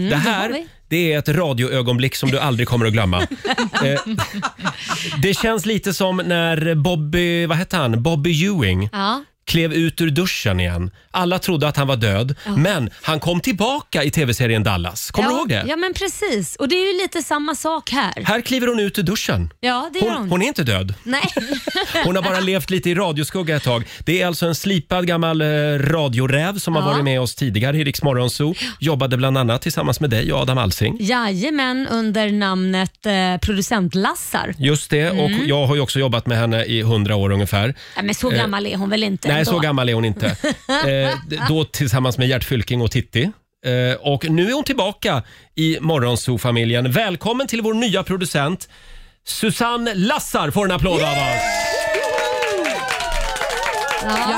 det här
Mm, vi.
det är ett radioögonblick som du aldrig kommer att glömma. Eh, det känns lite som när Bobby, vad hette han? Bobby Ewing
Ja.
klev ut ur duschen igen. Alla trodde att han var död, men han kom tillbaka i tv-serien Dallas. Kommer
ja,
du ihåg det?
Ja, men precis. Och det är ju lite samma sak här.
Här kliver hon ut ur duschen.
Ja, det gör
Hon,
hon.
hon är inte död.
Nej.
Hon har bara levt lite i radioskugga ett tag. Det är alltså en slipad gammal eh, radioräv som har
Ja.
varit med oss tidigare i Rix Morgon Zoo. Jobbade bland annat tillsammans med dig och Adam Alsing.
Jajamän, under namnet eh, producent-Lassar.
Just det, och
Mm.
jag har ju också jobbat med henne i hundra år ungefär.
Nej, men så gammal är hon väl inte?
Eh, Nej,
ändå?
så gammal är hon inte. Eh, d- då tillsammans med Gert Fylking och Titti. Eh, och nu är hon tillbaka i Morgonzoo-familjen. Välkommen till vår nya producent Susanne Lassar får en applåd av oss.
Ja.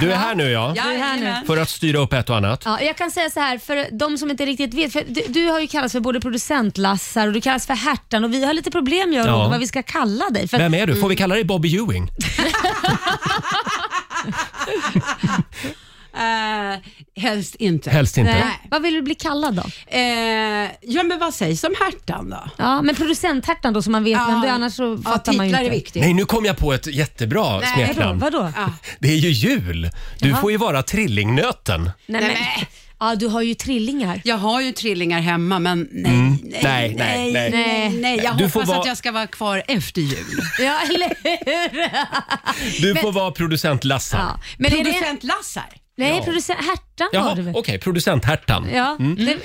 Du är här nu ja,
Du är här nu.
för att styra upp ett och annat.
Ja, jag kan säga så här, för de som inte riktigt vet. För du, du har ju kallats för både producent-Lassar och du kallas för Hertan och vi har lite problem jag och
Ja.
Roger, vad vi ska kalla dig. För
Vem är du? Får
Mm.
vi kalla dig Bobby Ewing?
Eh, helst inte.
Helst inte.
Nej. Vad vill du bli kallad då?
Eh, ja men vad sägs om Hertan då?
Ja, men producent-Hertan då som man vet vem du är, annars så
ja,
fattar man ju
titlar
inte.
är viktigt.
Nej, nu kom jag på ett jättebra smeknamn.
Vadå? Vadå?
Ja.
Det är ju jul. Du
Jaha.
får ju vara trillingnöten.
Nej, men. Ja, du har ju trillingar.
Jag har ju trillingar hemma men nej, nej,
Mm. nej,
nej,
nej,
nej,
nej.
nej, Jag
Du får
hoppas
vara-
att jag ska vara kvar efter jul.
Ja, eller hur?
Du får vara producent Lassar.
Ja. Men är det,
Producent Lassar.
nej, producent Hertan
Jaha,
har du
okej. Mm.
väl?
producent Hertan.
Ja, det,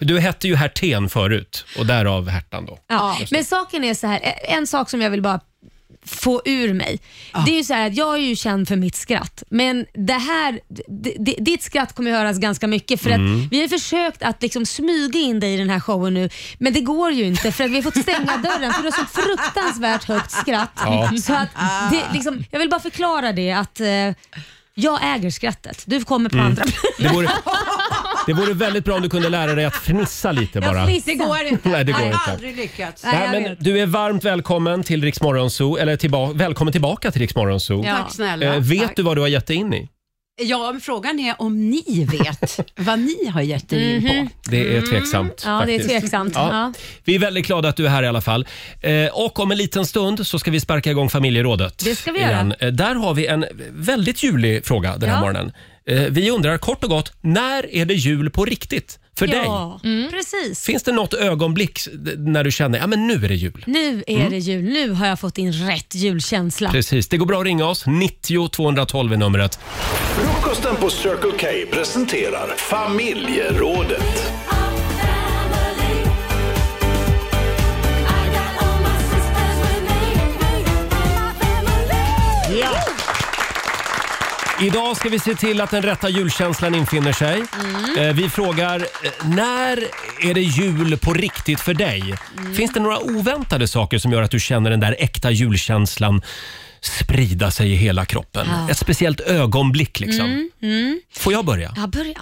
Du hette ju Hertén förut och därav Hertan då.
Ja. Men saken är så här, e, en sak som jag vill bara få ur mig. Det är ju så här att jag är ju känd för mitt skratt, men det här, d- d- ditt skratt kommer ju höras ganska mycket för
Mm.
att vi har försökt att liksom smyga in dig i den här showen nu, men det går ju inte för att vi har fått stänga dörren för du har så fruktansvärt högt skratt.
Ja.
Så att det, liksom, jag vill bara förklara det att eh, jag äger skrattet. Du kommer
Mm.
på andra plats.
Det vore, det vore väldigt bra om du kunde lära dig att fnissa lite bara.
Det går inte.
Nej, det går
Jag har
inte.
aldrig lyckats.
Nej, jag
Nej, men
vet.
du är varmt välkommen till Rix Morgon Zoo, eller tillba- välkommen tillbaka till Rix Morgon Zoo.
Ja.
Tack snälla.
Eh, vet
Tack.
du vad du har gett dig in i?
Ja, men frågan är om ni vet vad ni har gett er in på.
Det är tveksamt.
Mm. Ja, det är
faktiskt.
tveksamt.
Ja.
Ja.
Vi är väldigt glada att du är här i alla fall. Eh, och om en liten stund så ska vi sparka igång familjerådet.
Det ska vi
igen. Eh, Där har vi en väldigt julig fråga den här
Ja.
morgonen. Eh, Vi undrar kort och gott, när är det jul på riktigt för dig? Mm.
Ja, precis.
Finns det något ögonblick s- d- när du känner ja men nu är det jul?
Nu är det jul. Nu har jag fått in rätt julkänsla.
Mm. Precis, det går bra att ringa oss. 90 212 är numret.
Frukosten på Circle K presenterar familjerådet.
Ja.
Idag ska vi se till att den rätta julkänslan infinner sig. Eh, Vi frågar, eh, när är det jul på riktigt för dig? Finns det några oväntade saker som gör att du känner den där äkta julkänslan sprida sig i hela kroppen? Ett speciellt ögonblick liksom. Får jag börja?
Ja, börja.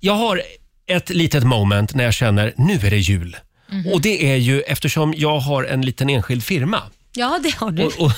Jag har ett litet moment när jag känner nu är det jul. Och det är ju eftersom jag har en liten enskild firma.
Ja, det har du.
Och, och,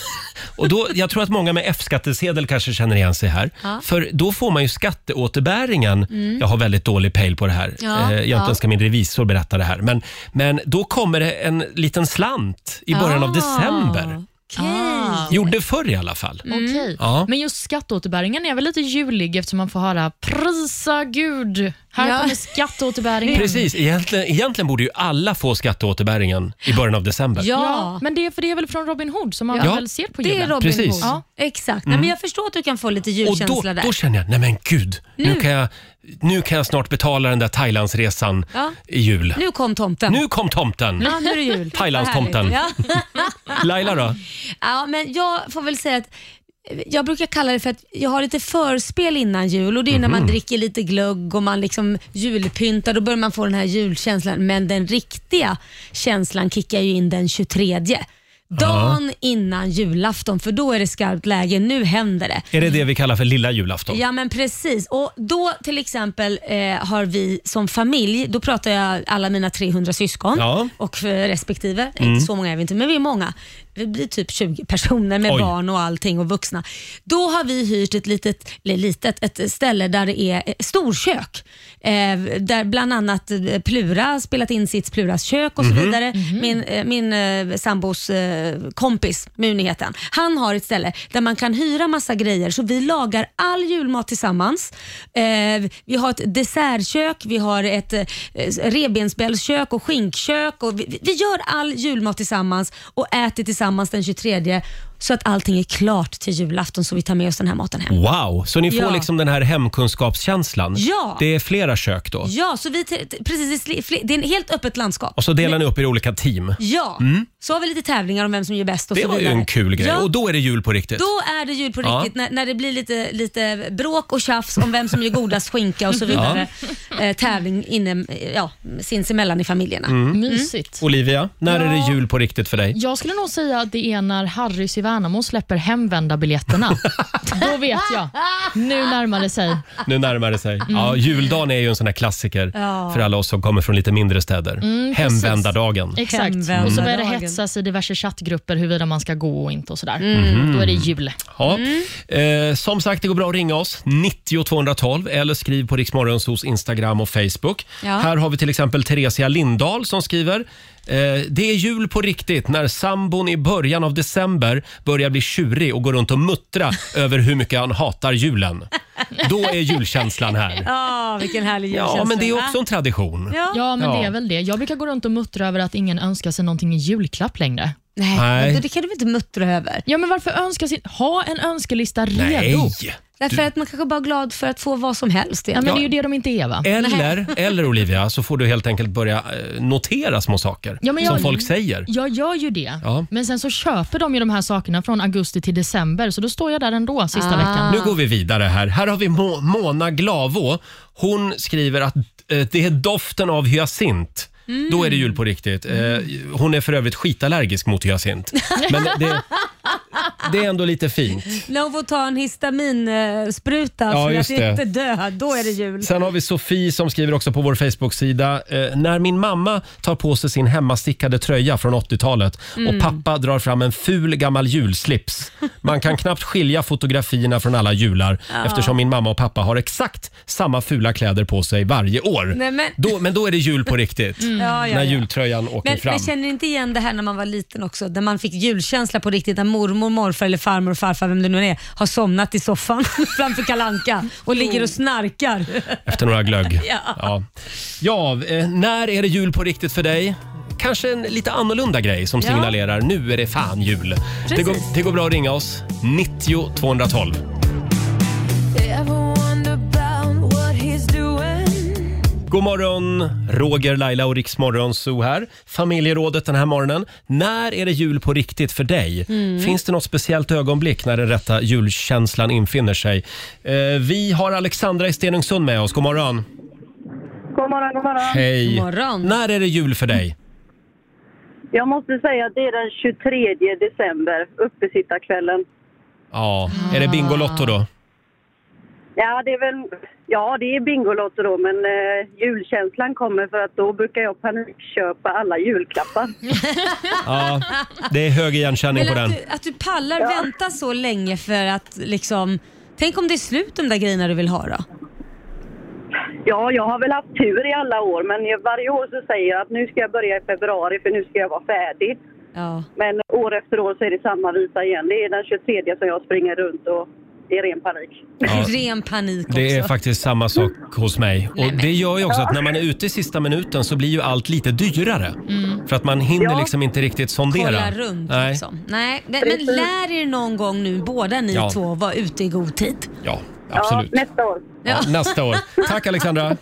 och då, jag tror att många med F-skattesedel kanske känner igen sig här.
Ja. Mm.
För då får man ju skatteåterbäringen. Jag har väldigt dålig pejl på det här.
Ja,
Eh, Egentligen
ja.
ska min revisor berätta det här. Men, men då kommer det en liten slant i början av
Ah,
december.
Okej.
Ah.
Gjorde förr i alla fall.
Mm.
Okej.
Ja.
Men just skatteåterbäringen är väl lite julig eftersom man får höra prisa Gud. Här
Ja.
kommer
Mm.
skatteåterbäringen.
Precis, egentligen, egentligen borde ju alla få skatteåterbäringen i början av december.
Ja,
Ja, men det är, för det är väl från Robin Hood som man
Ja.
väl ser på
det är
julen?
Robin
Precis. Mm.
Hood.
Ja.
Exakt. Nej, men jag förstår att du kan få lite
Och
julkänsla
då,
där.
då känner jag, nej men gud, nu. kan jag, nu kan jag snart betala den där Thailandsresan
Ja.
i jul.
Nu kom tomten.
Nu kom tomten!
Ja, nu är det jul.
Thailandstomten.
Vad härligt. Ja.
Laila då?
Ja, men jag får väl säga att eh, jag brukar kalla det för att jag har lite förspel innan jul och det är när
Mhm.
man dricker lite glögg och man liksom julpyntar. Då börjar man få den här julkänslan. Men den riktiga känslan kickar ju in den 23. Dagen innan julafton för då är det skarpt läge. Nu händer det.
Är det det vi kallar för lilla julafton?
Ja men precis. Och då till exempel eh, har vi som familj, då pratar jag alla mina 300 syskon
Ja. Mm.
och eh, respektive, inte så många är vi inte, men vi är många. Vi blir typ 20 personer med
Oj.
barn och allting och vuxna. Då har vi hyrt ett litet, eller litet, ett ställe där det är eh, storkök. Eh, där bland annat eh, Plura spelat in sitt Pluras kök och så vidare. Min, eh, min eh, sambos eh, kompis, Muni heter han. Han har ett ställe där man kan hyra massa grejer så vi lagar all julmat tillsammans. Eh, vi har ett dessertkök, vi har ett eh, revbensbällskök och skinkkök. Och vi, vi- vi gör all julmat tillsammans och äter tillsammans den 23 så att allting är klart till julafton så vi tar med oss den här maten hem.
Wow, så ni får
Ja.
liksom den här hemkunskapskänslan?
Ja.
Det är flera kök då?
Ja, så vi, t- t- precis, i sli- fli- det är en helt öppet landskap.
Och så delar ni upp er i olika team?
Ja, så har vi lite tävlingar om vem som gör bäst och
Det
så
var ju
vidare.
en kul grej.
Ja,
Och då är det jul på riktigt?
Då är det jul på
Ja.
riktigt när, när det blir lite, lite bråk och tjafs om vem som gör godast skinka och så vidare. Eh, tävling inne, ja, sinsemellan i familjerna.
Mm.
Mysigt.
Olivia, när är det jul på riktigt för dig?
Jag skulle nog säga att det är när Harrys i Värnamo släpper hemvända biljetterna. Då vet jag. Nu närmar det sig.
Nu närmar det sig.
Mm.
Ja, juldagen är ju en sån här klassiker för alla oss som kommer från lite mindre städer.
Mm,
Hemvändardagen.
Exakt.
Hemvända
Och så börjar det
dagen.
hetsas i diverse chattgrupper huruvida man ska gå och inte och sådär.
Mm.
Mm. Då är det jul.
Ja.
Mm.
Eh, som sagt, det går bra att ringa oss. 90 212 eller skriv på Riksmorgonsos Instagram och Facebook.
Ja.
Här har vi till exempel Theresia Lindahl som skriver. Eh, det är jul på riktigt när sambon i början av december börjar bli tjurig och går runt och muttra över hur mycket han hatar julen. Då är julkänslan här.
Ja, vilken härlig julkänsla.
Ja, men det är också en tradition.
Ja.
Ja, men
Ja.
det är väl det. Jag brukar gå runt och muttra över att ingen önskar sig någonting i julklapp längre.
Nej,
Nej.
men Det kan du väl inte muttra över?
Ja, men varför önska sin... Ha en önskelista redo.
Nej!
Därför att man kanske bara är glad för att få vad som helst.
Mm.
Ja, men
egentligen.
Det är ju det de inte är,
Eh.
va?
Eller, eller Olivia, så får du helt enkelt börja eh, notera små saker
Ja, men jag-
som folk säger.
Jag gör ju det,
Ja.
men sen så köper de ju de här sakerna från augusti till december, så då står jag där ändå sista
Ah.
veckan.
Nu går vi vidare här. Här har vi Mo- Mona Glavå. Hon skriver att eh, det är doften av hyacint. Då är det jul på riktigt. Eh, Hon är för övrigt skitallergisk mot hyacint. Men det, det är ändå lite fint.
När hon får ta en histaminspruta
Ja,
för
just
att
det.
inte dö, då är det jul.
Sen har vi Sofie som skriver också på vår Facebook-sida. Eh, när min mamma tar på sig sin hemmastickade tröja från 80-talet
Mm.
och pappa drar fram en ful gammal julslips. Man kan knappt skilja fotografierna från alla jular eftersom min mamma och pappa har exakt samma fula kläder på sig varje år.
Nej, men- Mm.
Då, men då är det jul på riktigt.
Ja, ja,
när
ja.
jultröjan åker
Men,
fram.
men känner ni inte igen det här när man var liten också? När man fick julkänsla på riktigt, när mormor, morfar eller farmor och farfar, vem det nu är, har somnat i soffan framför kalanka och ligger och snarkar.
Efter några glögg.
Ja.
Ja. Ja, eh, när är det jul på riktigt för dig? Kanske en lite annorlunda grej som
Ja.
signalerar nu är det fan jul. Det
Precis.
går, det går bra att ringa oss. 90 212. God morgon, Roger, Laila och Riksmorgon Zoo här. Familjerådet den här morgonen. När är det jul på riktigt för dig?
Mm.
Finns det något speciellt ögonblick när den rätta julkänslan infinner sig? Eh, vi har Alexandra i Stenungsund med oss. God morgon.
God morgon, god morgon.
Hej.
God morgon.
När är det jul för dig?
Jag måste säga att det är den 23 december, uppesittarkvällen.
Ja, är
Ah.
det Bingolotto då?
Ja, det är väl... Ja, det är Bingolotto då, men eh, julkänslan kommer för att då brukar jag panikköpa alla julklappar.
Ja, det är hög igenkänning
Men
på
att
den.
du, att du pallar vänta så länge för att liksom Tänk om det är slut de där grejerna du vill ha då?
Ja, jag har väl haft tur i alla år, men jag- varje år så säger jag att nu ska jag börja i februari för nu ska jag vara färdig.
Ja.
Men år efter år så är det samma visa igen. Det är den 23 som jag springer runt och det är ren panik.
Ja.
Ren panik också.
Det är faktiskt samma sak hos mig. Och det gör ju också att när man är ute i sista minuten så blir ju allt lite dyrare. För att man hinner
Ja.
liksom inte riktigt sondera.
Mm. Kolla runt Nej. liksom. Nej, men, men
Precis.
lär er någon gång nu båda ni
Ja.
två vara ute i god tid.
Ja, absolut.
Ja, nästa år.
Ja, nästa år. Tack Alexandra.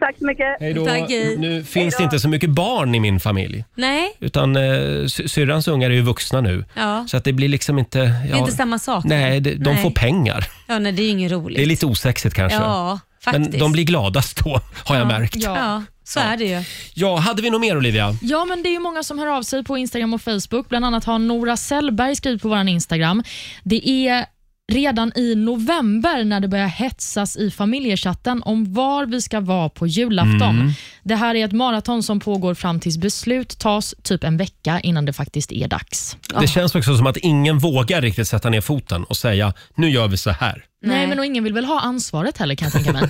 Tack så mycket.
Hej då.
Tack, hej.
Nu finns det inte så mycket barn i min familj.
Nej,
Utan eh, sy- syrrans ungar är ju vuxna nu.
Ja.
Så att det blir liksom inte...
det är inte samma sak.
Nej, de, de
Nej.
får pengar.
Ja, nej, det är ju inget roligt.
Det är lite osexigt kanske.
Ja,
Men
faktiskt.
de blir gladast då, har jag märkt.
Ja.
Ja, så är det ju.
Ja, hade vi något mer Olivia?
Ja, men det är ju många som hör av sig på Instagram och Facebook. Bland annat har Nora Sellberg skrivit på vår Instagram. Det är redan i november när det börjar hetsas i familjechatten om var vi ska vara på julafton. Det här är ett maraton som pågår fram tills beslut tas typ en vecka innan det faktiskt är dags.
Det känns också som att ingen vågar riktigt sätta ner foten och säga nu gör vi så här.
Nej,
Nej.
men och ingen vill väl ha ansvaret heller kan jag tänka mig.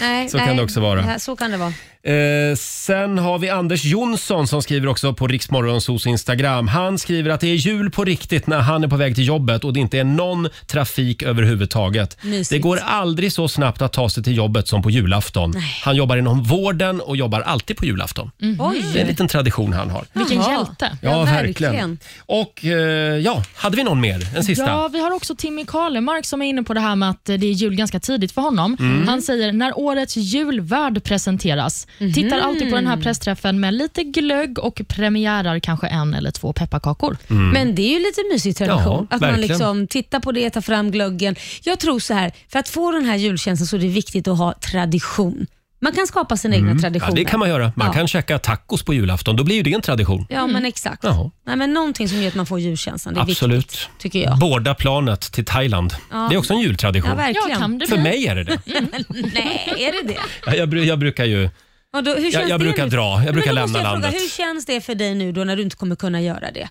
Nej,
Så kan
nej.
det också vara.
här- Så kan det vara.
Eh, sen har vi Anders Jonsson som skriver också på Riksmorgonsos Instagram. Han skriver att det är jul på riktigt när han är på väg till jobbet och det inte är någon trafik överhuvudtaget.
Mysigt.
Det går aldrig så snabbt att ta sig till jobbet som på julafton. Han jobbar inom vården och jobbar alltid på julafton. Det är en
Mhm. Oj!
liten tradition han har.
Vilken
Jaha.
hjälte.
Ja, verkligen.
Och eh, ja, hade vi någon mer? En sista?
Ja, vi har också Timmy Karlemark som är inne på det här med att det är jul ganska tidigt för honom.
Mm.
Han säger när årets julvärd presenteras,
Mhm.
tittar alltid på den här pressträffen med lite glögg och premiärar kanske en eller två pepparkakor.
Mm.
Men det är ju lite mysig tradition.
Ja,
att man
verkligen.
liksom tittar på det, tar fram glöggen. Jag tror så här, för att få den här julkänslan så är det viktigt att ha tradition. Man kan skapa sina egna
Mm. Ja,
traditioner.
det kan man göra. Man
Ja.
kan käka tacos på julafton. Då blir ju det en tradition.
Ja, men exakt.
Jaha.
Nej, men någonting som gör att man får julkänslan, det är
Absolut.
viktigt. Tycker jag.
Båda planet till Thailand. Det är också en
Ja,
jultradition.
verkligen.
Ja, kan det
För
bli.
mig är det det.
Nej, är det det?
Ja, Jag, bru- jag brukar ju...
Vadå, hur känns
Jag, jag
det
brukar
nu?
dra. Jag
Men
brukar
då
lämna
måste jag
landet.
Fråga, hur känns det för dig nu då när du inte kommer kunna göra det?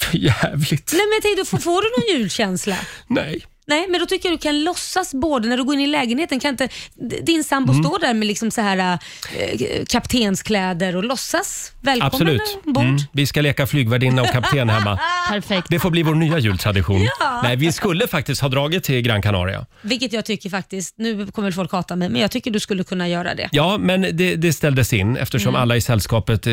För jävligt.
Nej men jag tänkte, får, får du någon julkänsla?
Nej.
Nej, men då tycker jag du kan låtsas både när du går in i lägenheten. Kan inte d- din sambo
Mm.
stå där med liksom så här äh, kaptenskläder och låtsas välkommen
Absolut.
ombord?
Mm. Vi ska leka flygvärdinna och kapten hemma.
Perfekt.
Det får bli vår nya jultradition. Nej, vi skulle faktiskt ha dragit till Gran Canaria.
Vilket jag tycker faktiskt, nu kommer väl folk hata mig, men jag tycker du skulle kunna göra det.
Ja, men det, det ställdes in eftersom
Mm.
alla i sällskapet eh,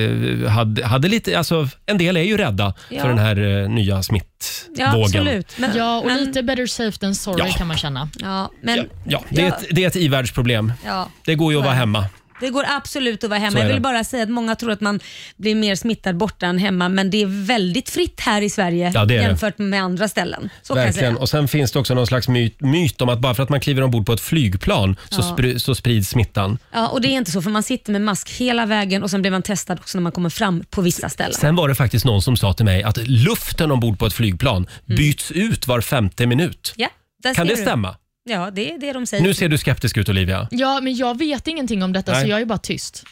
hade, hade lite... Alltså, en del är ju rädda
Ja.
för den här eh, nya smittvågen.
Ja, absolut. Men,
Ja, och
men,
lite better safe than sorry
Ja.
kan man känna.
Ja, men,
Ja, ja, det, är
Ja.
ett, det är ett ivärldsproblem.
ja.
Det går ju att vara hemma.
Det går absolut att vara
Så
hemma.
är
Jag
det.
vill bara säga att många tror att man blir mer smittad borta än hemma, men det är väldigt fritt här i Sverige
Ja, det är det.
jämfört med andra ställen. Så kan jag
Verkligen.
säga.
Och sen finns det också någon slags myt, myt om att bara för att man kliver ombord på ett flygplan så, spr- så sprids smittan.
Ja, och det är inte så, för man sitter med mask hela vägen och sen blir man testad också när man kommer fram på vissa ställen.
Sen var det faktiskt någon som sa till mig att luften ombord på ett flygplan byts ut var femte minut.
Mm. Ja, där
Kan
ser
det
du.
stämma?
Ja, det är det de säger.
Nu ser du skeptisk ut Olivia.
Ja, men jag vet ingenting om detta
Nej.
så jag är bara tyst.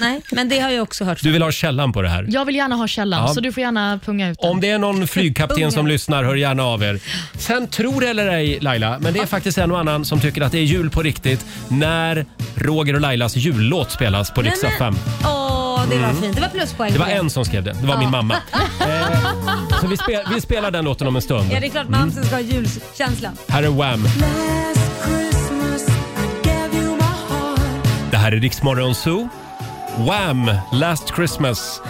Nej, men det har jag också hört.
Du vill ha källan på det här.
Jag vill gärna ha källan
Ja.
så du får gärna punga ut den.
Om det är någon flygkapten som
Unga.
lyssnar, hör gärna av er. Sen tror det eller ej Laila, men det är faktiskt en och annan som tycker att det är jul på riktigt när Roger och Lailas jullåt spelas på
Nej,
riksdag
men-
5.
Åh, Ja, det var fint. Det var pluspoäng.
Det var
för
en som skrev det. Det var min mamma. Eh, så vi, spel, vi spelar den låten om en stund.
Ja, det är klart mamsen ska ha julkänsla.
Här är Wham! Det här är Riksmorgon Zoo. Wham! Last Christmas.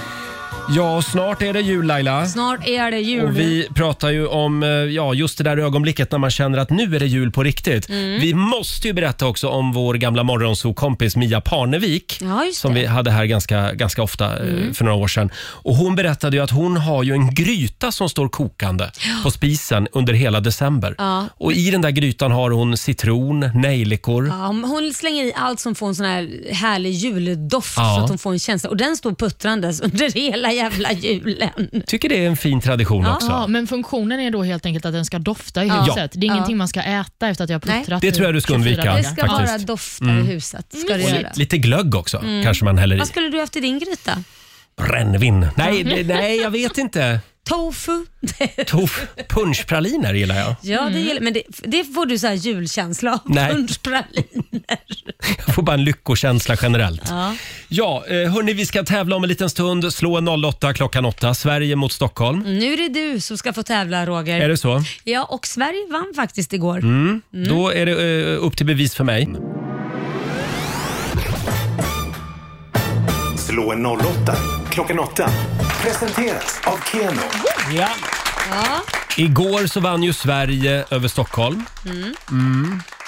Ja, snart är det jul Laila.
Snart är det jul.
Och vi pratar ju om eh, ja, just det där ögonblicket när man känner att nu är det jul på riktigt.
Mm.
Vi måste ju berätta också om vår gamla morgonsokompis Mia Parnevik.
Ja, just
som
det. Mm.
vi hade här ganska, ganska ofta eh, för några år sedan. Och hon berättade ju att hon har ju en gryta som står kokande på spisen under hela december.
Ja.
Och i den där grytan har hon citron, nejlikor.
Ja, hon slänger i allt som får en sån här härlig juldoft
Ja.
så att hon får en känsla. Och den står puttrandes under hela jävla julen.
Tycker det är en fin tradition också.
Ja, men funktionen är då helt enkelt att den ska dofta i
Ja.
huset. Det är
Ja.
ingenting man ska äta efter att jag har
Nej.
puttrat
Det tror jag du ska
i 24
undvika.
Det
dagar.
ska
faktiskt. Mm.
bara dofta i huset. Ska det
Och
göra.
li- lite glögg också kanske man häller i.
Mm. Vad skulle du ha efter din gryta?
Brännvin. Nej, det- nej, jag vet inte.
Tofu?
Tof, punschpraliner gillar jag.
ja, det gillar Men det, det får du så här julkänsla av.
Nej.
Punschpraliner.
Jag får bara en lyckokänsla generellt.
Ja.
Ja, eh, hörni, vi ska tävla om en liten stund. Slå en 08 klockan 8. Sverige mot Stockholm.
Mm, Nu är det du som ska få tävla Roger.
Är det Mm. så?
Ja, och Sverige vann faktiskt igår.
Då är det eh, upp till bevis för mig.
Slå en 08 klockan 8. Presenteras av Keno.
Ja. Igår så vann ju Sverige över Stockholm.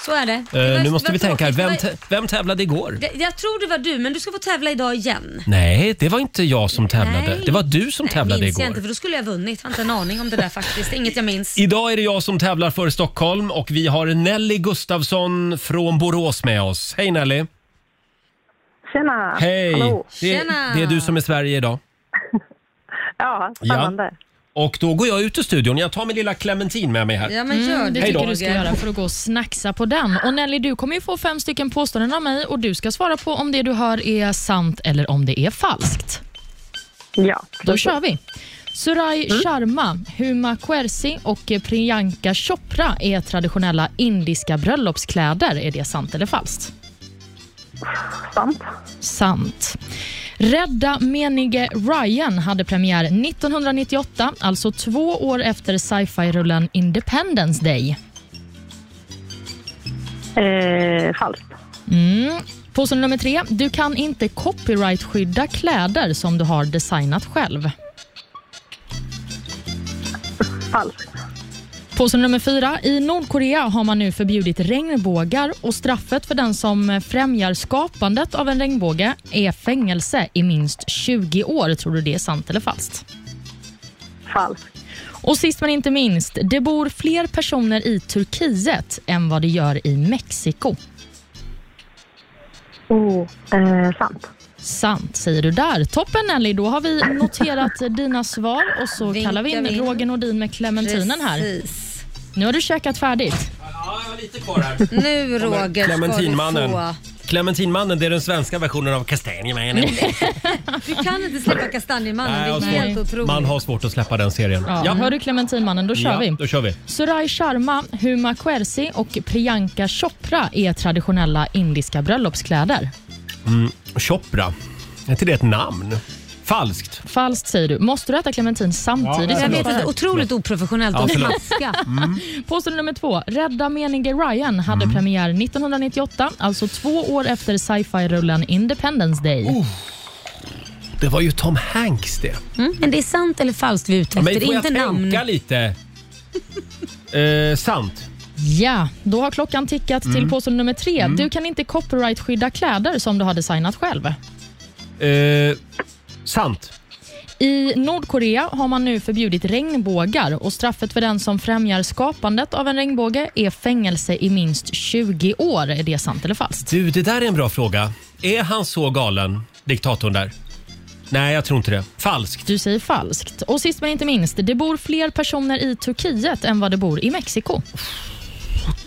Så är det.
Eh,
det var-
nu måste
var
vi tänka här.
tråkigt.
Vem,
Det var-
tä- vem tävlade igår?
Jag- Jag tror det var du, men du ska få tävla idag igen.
Nej, det var inte jag som tävlade.
Nej.
Det var du som tävlade
minns jag
igår.
inte, för då skulle jag vunnit. Jag har inte en aning om det där faktiskt. Det är Inget jag minns.
Idag är det jag som tävlar för Stockholm och vi har Nelly Gustafsson från Borås med oss. Hej Nelly!
Tjena!
Hej!
Hallå.
Det,
Tjena.
det är du som är Sverige idag.
Ja, spännande.
Och då går jag ut ur studion. Jag tar min lilla clementin med mig här.
Ja, men gör
Det
Hej
tycker
då.
du ska göra för att gå och snacksa på den. Och Nelly, du kommer ju få fem stycken påståenden av mig och du ska svara på om det du hör är sant eller om det är falskt.
Ja. Mm.
Då kör vi. Suraj Sharma, Huma Quercy och Priyanka Chopra är traditionella indiska bröllopskläder. Är det sant eller falskt?
Sant.
Sant. Rädda menige Ryan hade premiär 1998, alltså två år efter sci-fi-rullen Independence Day.
Eh, falskt.
Mm. Påstående nummer tre. Du kan inte copyright-skydda kläder som du har designat själv.
Falskt.
Påstående nummer fyra. I Nordkorea har man nu förbjudit regnbågar och straffet för den som främjar skapandet av en regnbåge är fängelse i minst 20 år. Tror du det är sant eller falskt?
Falskt.
Och sist men inte minst. Det bor fler personer i Turkiet än vad det gör i Mexiko.
Oh, eh, sant.
Sant säger du där. Toppen Nelly, då har vi noterat dina svar och så
Vinkar
kallar vi in
vi in.
Roger Nordin med clementinen här.
Precis.
Nu har du käkat färdigt.
Ja, jag har lite kvar här.
Nu Roger ska du
Clementinmannen.
få.
Clementinmannen, det är den svenska versionen av kastanjemannen.
Du kan inte släppa kastanjemannen.
Nej,
Det är
alltså,
helt otroligt.
Man har svårt att släppa den serien.
Ja, Hör du clementinmannen, då kör
ja,
vi.
då kör vi.
Suraj Sharma, Huma Quercy och Priyanka Chopra är traditionella indiska bröllopskläder.
Chopra. Är inte det ett namn? Falskt.
Falskt säger du. Måste du äta clementin samtidigt?
Ja,
jag
som du
vet
pratar?
inte, otroligt oprofessionellt
Ja,
att
förlåt. Mm.
maska.
Påstående nummer två. Rädda menige Ryan hade premiär 1998, alltså två år efter sci-fi-rullen Independence Day.
Det var ju Tom Hanks det.
Mm. Men det är sant eller falskt vi är ute efter.
Men får jag
inte
tänka
namn.
lite? Eh, sant.
Ja, då har klockan tickat
Mm.
till påstående nummer tre. Du kan inte copyright-skydda kläder som du har designat själv.
Eh, sant.
I Nordkorea har man nu förbjudit regnbågar och straffet för den som främjar skapandet av en regnbåge är fängelse i minst 20 år. Är det sant eller falskt?
Du, det där är en bra fråga. Är han så galen, diktatorn där? Nej, jag tror inte det. Falskt.
Du säger falskt. Och sist men inte minst, det bor fler personer i Turkiet än vad det bor i Mexiko.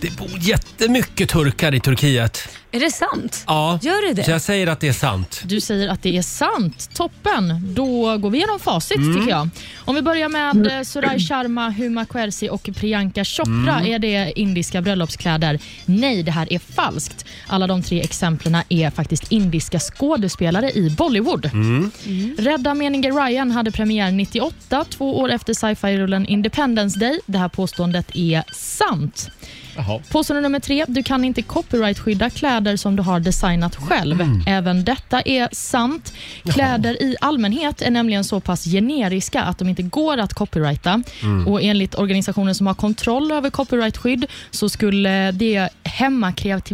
Det bor jättemycket turkar i Turkiet.
Är det sant?
Ja,
Gör det det?
så jag säger att det är sant.
Du säger att det är sant. Toppen! Då går vi igenom facit tycker jag. Om vi börjar med eh, Suraj Sharma, Huma Qureshi och Priyanka Chopra. Är det indiska bröllopskläder? Nej, det här är falskt. Alla de tre exemplen är faktiskt indiska skådespelare i Bollywood.
Mm.
Rädda meningen Ryan hade premiär 98, två år efter sci-fi-rullen Independence Day. Det här påståendet är sant.
Jaha.
Påstående nummer tre. Du kan inte copyrightskydda kläder som du har designat själv.
Mm.
Även detta är sant. Kläder i allmänhet är nämligen så pass generiska att de inte går att copyrighta.
Mm.
Och Enligt organisationen som har kontroll över copyrightskydd så skulle det hämma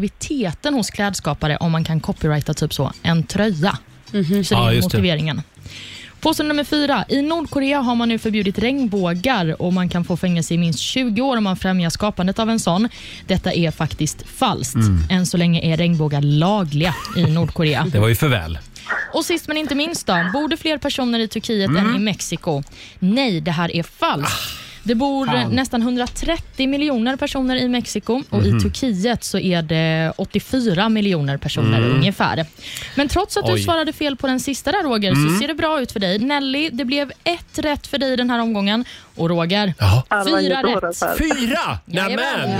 kreativiteten hos klädskapare om man kan copyrighta typ så en tröja. Så det
Mm-hmm. Ja,
är
just det.
motiveringen. Påstående nummer fyra. I Nordkorea har man nu förbjudit regnbågar och man kan få fängelse i minst 20 år om man främjar skapandet av en sån. Detta är faktiskt falskt. Än så länge är regnbågar lagliga i Nordkorea.
Mm. Det var ju för väl.
Och sist men inte minst då, bor det fler personer i Turkiet än i
Mm.
Mexiko? Nej, det här är falskt.
Ah,
Det bor eh, nästan 130 miljoner personer i Mexiko och
Mhm.
i Turkiet så är det 84 miljoner personer ungefär. Men trots att du
Mm. Oj. Mm.
svarade fel på den sista där Roger, så ser det bra ut för dig. Nelly, det blev ett rätt för dig den här omgången. Och Roger,
Jaha.
fyra
Alla gjorde
rätt.
alltså.
det här.
Fyra! Nämen!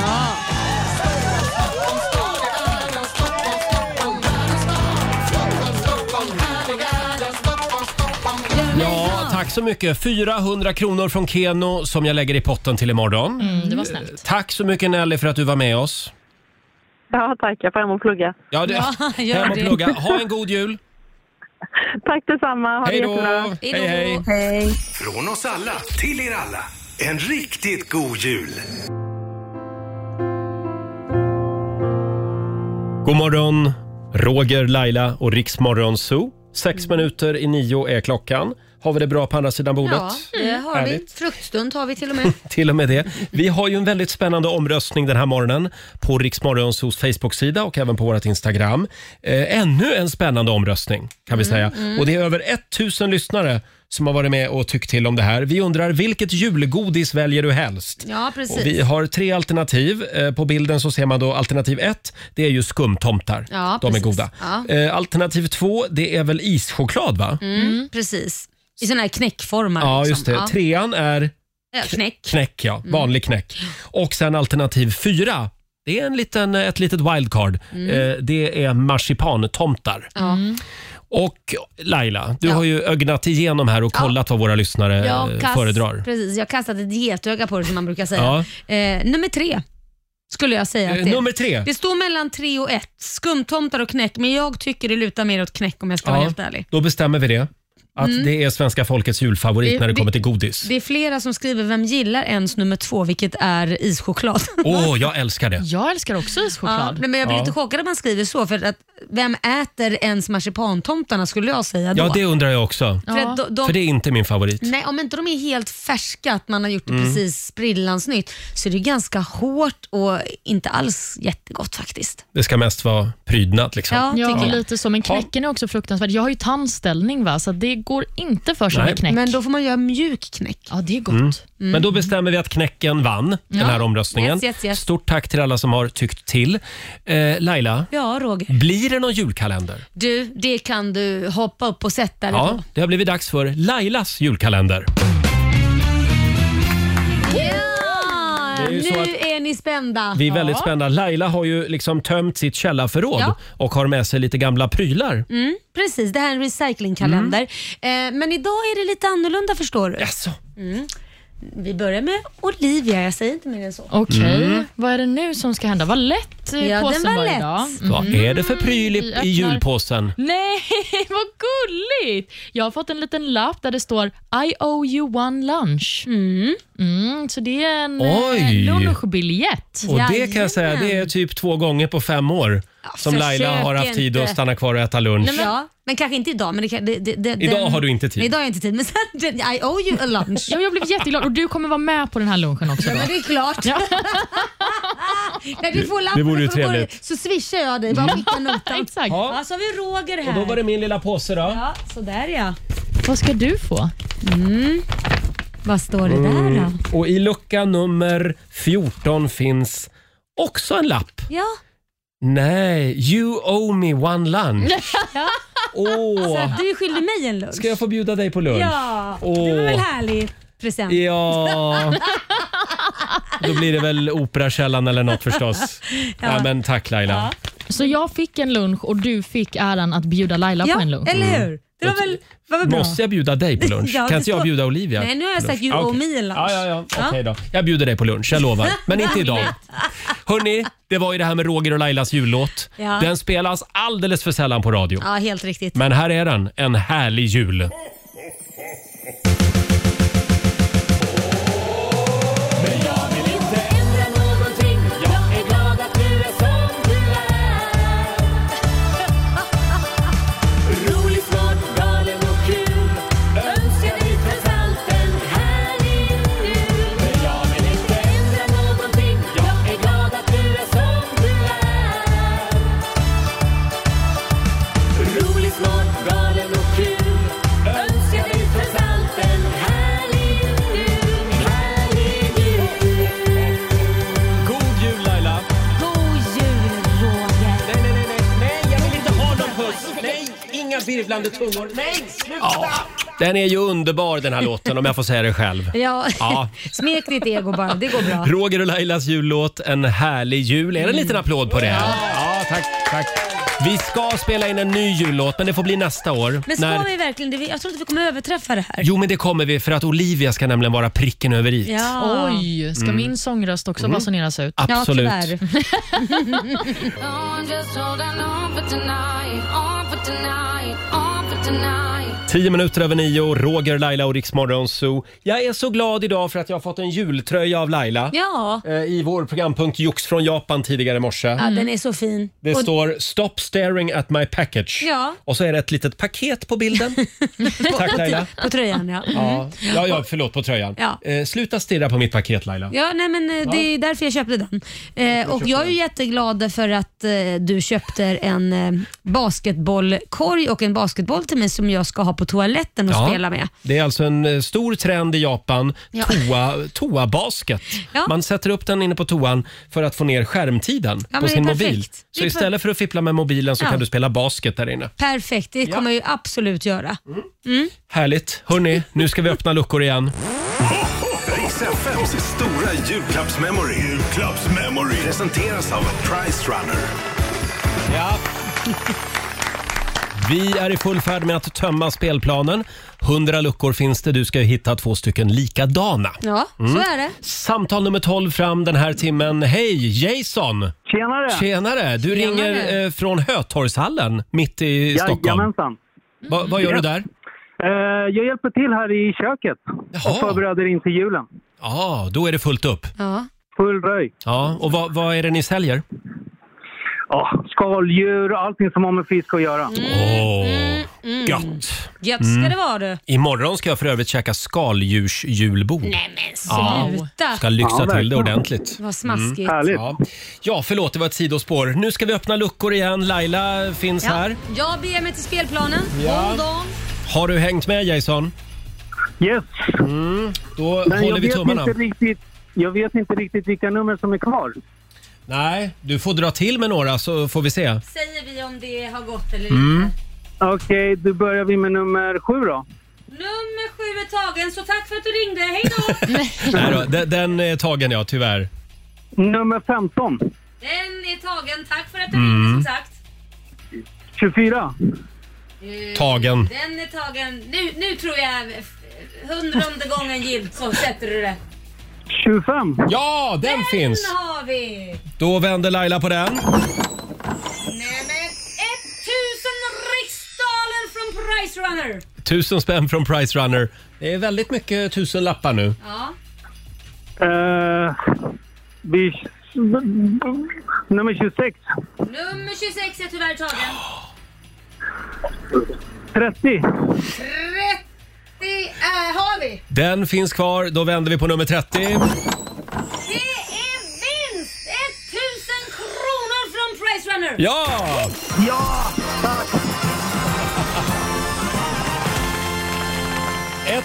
Ja, tack så mycket. 400 kronor från Keno som jag lägger i potten till imorgon.
Mm, det var snällt.
Tack så mycket Nelly för att du var med oss.
Ja, tack. Jag får hem och plugga.
Ja, det,
Ja, gör
hem och
det.
plugga. Ha en god jul.
Tack detsamma. Ha det
Hej då!
jättebra.
Hej, hej.
Från oss alla till er alla. En riktigt god jul!
God morgon, Roger, Laila och Riksmorgon Zoo. Sex minuter i nio är klockan. Har vi det bra på andra sidan bordet?
Ja, det har
Mm. Härligt.
vi. Fruktstund har vi till och med.
Till och med det. Vi har ju en väldigt spännande omröstning den här morgonen på Riksmorgons hos Facebook-sida och även på vårt Instagram. Eh, ännu en spännande omröstning kan vi
Mm,
säga. Och det är över 1000 lyssnare som har varit med och tyckt till om det här. Vi undrar vilket julgodis väljer du helst?
Ja,
Och vi
precis.
har tre alternativ. Eh, På bilden så ser man då alternativ ett, det är ju skumtomtar.
Ja,
De är
precis.
goda.
Ja.
Eh, Alternativ två, det är väl ischoklad va?
Mm, precis. I sådana här knäckformar.
Ja,
liksom.
just det. Trean är
Ja, knäck.
Knäck,
Mm.
ja. Vanlig knäck. Och sen alternativ fyra. Det är en liten, ett litet wildcard. Eh, Det är marsipantomtar.
Mm. Ja.
Och Laila, du har ju ögnat igenom här och kollat vad våra lyssnare eh,
Jag kast,
föredrar.
Precis, jag kastade ett getöga på det som man brukar säga.
Ja.
Eh, nummer tre skulle jag säga att
Eh,
det är.
Nummer tre.
Det står mellan tre och ett. Skumtomtar och knäck, men jag tycker det lutar mer åt knäck om jag ska vara
Ja,
helt Mm. ärlig.
då bestämmer vi det. Att det är svenska folkets julfavorit
Det-
när det
det-
kommer till godis.
Det är flera som skriver, vem gillar ens nummer två, vilket är ischoklad?
Åh, jag älskar det.
Jag älskar också
Ja,
ischoklad.
nej, men jag blir
Ja.
lite chockad när man skriver så, för att vem äter ens marsipantomtarna skulle jag säga då.
Ja, det undrar jag också.
för att de, de,
För det är inte min favorit.
Nej, om inte de är helt färska, att man har gjort det
Mm.
precis sprillans nytt, så är det ganska hårt och inte alls jättegott faktiskt.
Det ska mest vara prydnad liksom.
Ja,
Ja,
tycker jag.
lite så. Men knäcken är också fruktansvärd. Jag har ju tandställning, va? så det går inte för sig
Nej.
med knäck.
Men då får man göra mjuk knäck.
Ja, det är gott.
Men då bestämmer vi att Knäcken vann den här omröstningen.
Mm. Yes, yes, yes.
Stort tack till alla som har tyckt till. Eh, Laila,
Ja, Roger.
blir det någon julkalender?
Du, det kan du hoppa upp och sätta dig
Ja, det har blivit dags för Lailas julkalender.
på.
Det
Ja!
är ju
Nu
så att-
är ni spända.
Vi är väldigt spända. Laila har ju liksom tömt sitt källarförråd
Ja.
och har med sig lite gamla prylar.
Mm, precis, det här är en recyclingkalender.
Mm.
Eh, men idag är det lite annorlunda förstår du.
Jaså?
Vi börjar med Olivia, jag säger inte mer än så.
Okej, vad är det nu som ska hända? Vad lätt eh,
Ja, den
påsen
var
var,
lätt.
idag.
Vad
Mm.
är det för pryl
Vi
i,
öppnar.
i julpåsen?
Nej, vad gulligt! Jag har fått en liten lapp där det står I owe you one lunch. Mm. så det är en eh,
Oj.
lunchbiljett.
Och det kan jag säga, det är typ två gånger på fem år som
Alltså, försök
Laila har haft tid att
inte.
stanna kvar och äta lunch.
Ja, men kanske inte idag. Men det, kan- det, det, det,
Idag
den-
har du inte tid.
Idag har jag inte tid, men sen, I owe you a lunch.
Ja, jag blev jätteglad och du kommer vara med på den här lunchen också.
Ja,
Då.
men det är klart.
Ja.
När du får lappen
det vore ju
från början
trevligt.
så swishar jag dig. Bara skicka notan.
Exakt.
Ja.
Ja, så har vi Roger här.
Och då var det min lilla påse då.
Ja, sådär ja.
Vad ska du få?
Vad står det där då?
Och i lucka nummer 14 finns också en lapp.
Ja,
Nej, You owe me one lunch.
Så
Åh,
att du är skyldig mig en lunch.
ska jag få bjuda dig på lunch?
Ja, det var
Åh.
väl härlig present.
Ja. Då blir det väl Operakällan eller något förstås. Ja. men tack Laila.
Så jag fick en lunch och du fick äran att bjuda Laila
Ja,
på en lunch.
eller hur? Det var väl, var väl bra?
Mm. Måste jag bjuda dig på lunch?
Ja, det
kan inte jag
står-
bjuda Olivia?
Nej, nu har jag
på
sagt
lunch? Ah,
you owe
okej.
me en lunch.
Ja, ja, ja.
Ja.
Okej då. Jag bjuder dig på lunch, jag lovar. Men inte idag. Hörni, det var ju det här med Roger och Lailas jullåt.
Ja.
Den spelas alldeles för sällan på radio.
Ja, helt riktigt.
Men här är den, En härlig jul. God jul Laila!
God jul Roger.
Nej, nej, nej, nej, nej, jag vill inte ha någon puss! Nej, inga virvlande tungor. Nej, sluta! Ja, den är ju underbar den här låten om jag får säga det själv.
Ja,
Ja.
smek ditt ego bara. Det går bra.
Roger och Lailas jullåt En härlig jul. Är det en liten applåd på det? Ja, tack, tack. Vi ska spela in en ny jullåt, men det får bli nästa år.
Men ska vi verkligen det? Jag tror inte vi kommer överträffa det här.
Jo, men det kommer vi för att Olivia ska nämligen vara pricken över i.
Ja.
Oj, ska min sångröst också basuneras ut?
Absolut.
Ja, tyvärr.
Tio minuter över nio, Roger, Laila och Riksmorgon Zoo. Jag är så glad idag för att jag har fått en jultröja av Laila.
Ja.
Eh, I vår programpunkt Jux från Japan tidigare i morse.
ja, den är så fin.
Det
Och-
står “Stop staring at my package”
Ja.
och så är det ett litet paket på bilden. Tack Laila.
På tröjan ja.
Ja, ja, ja förlåt, på tröjan.
Mm. Ja.
Eh, sluta stirra på mitt paket Laila.
Ja, nej men eh, det är därför jag köpte den. Eh, och jag är ju jätteglad för att eh, du köpte en eh, basketbollkorg och en basketboll till mig som jag ska ha på toaletten och
Ja.
spela med.
Det är alltså en eh, stor trend i Japan, toa, toabasket.
Ja.
Man sätter upp den inne på toan för att få ner skärmtiden
men
på
det är
sin
perfekt.
mobil.
Det
Så
är
istället för att fippla med mobilen så
Ja.
kan du spela basket där inne.
Perfekt, det kommer jag ju absolut göra.
Härligt. Hörni, nu ska vi öppna luckor igen.
Riks FMs stora julklappsmemory. Julklappsmemory. Presenteras av Price Runner.
Vi är i full färd med att tömma spelplanen. Hundra luckor finns det. Du ska ju hitta två stycken likadana.
Ja, så är det.
Samtal nummer 12 fram den här timmen. Hej Jason!
Tjenare!
Tjenare! Du ringer eh, från Hötorgshallen mitt i Stockholm.
Jajamensan.
Va, vad gör du där?
Eh, jag hjälper till här i köket och
Jaha,
förbereder inför julen.
ja, då är det fullt upp.
Ja.
Full röj.
Ja, och vad, vad är det ni säljer?
Ja, skaldjur och allting som har med fisk att göra.
Åh, oh, gött!
Gött ska det vara du.
Imorgon ska jag för övrigt käka skaldjursjulbord. Ja.
Sluta,
Ska lyxa till det
verkligen.
ordentligt.
vad smaskigt.
Härligt.
Ja. ja, förlåt, det var ett sidospår. Nu ska vi öppna luckor igen. Laila finns här.
Jag beger mig till spelplanen.
Ja.
Hold on.
Har du hängt med Jason?
Yes.
Då
Men
Mm. håller
jag
vi
vet,
tummarna.
inte riktigt, jag vet inte riktigt vilka nummer som är kvar.
Nej, du får dra till med några så får vi se.
Säger vi om det har gått eller
Mm.
inte.
Okej, då börjar vi med nummer sju då.
Nummer sju är tagen, så tack för att du ringde. Hej då!
Nej då, den, den är tagen ja, tyvärr.
Nummer 15.
Den är tagen, tack för att du
Mm.
ringde som sagt.
24.
Eh,
Tagen.
Den är tagen. Nu, nu tror jag eh, hundrade gången gillt så sätter du det.
25.
Ja, den finns!
Den har vi!
Då vänder Laila på den.
Nej men 1000 riksdaler från Price Runner.
Tusen spänn från Price Runner. Det är väldigt mycket tusen lappar nu.
Ja.
Eh, vi, nummer 26.
Nummer 26 är tyvärr tagen.
30.
30 är, äh, har vi.
Den finns kvar. Då vänder vi på nummer 30.
Det är vinst! 1000 kronor från Price Runner.
Ja!
Ja! Tack!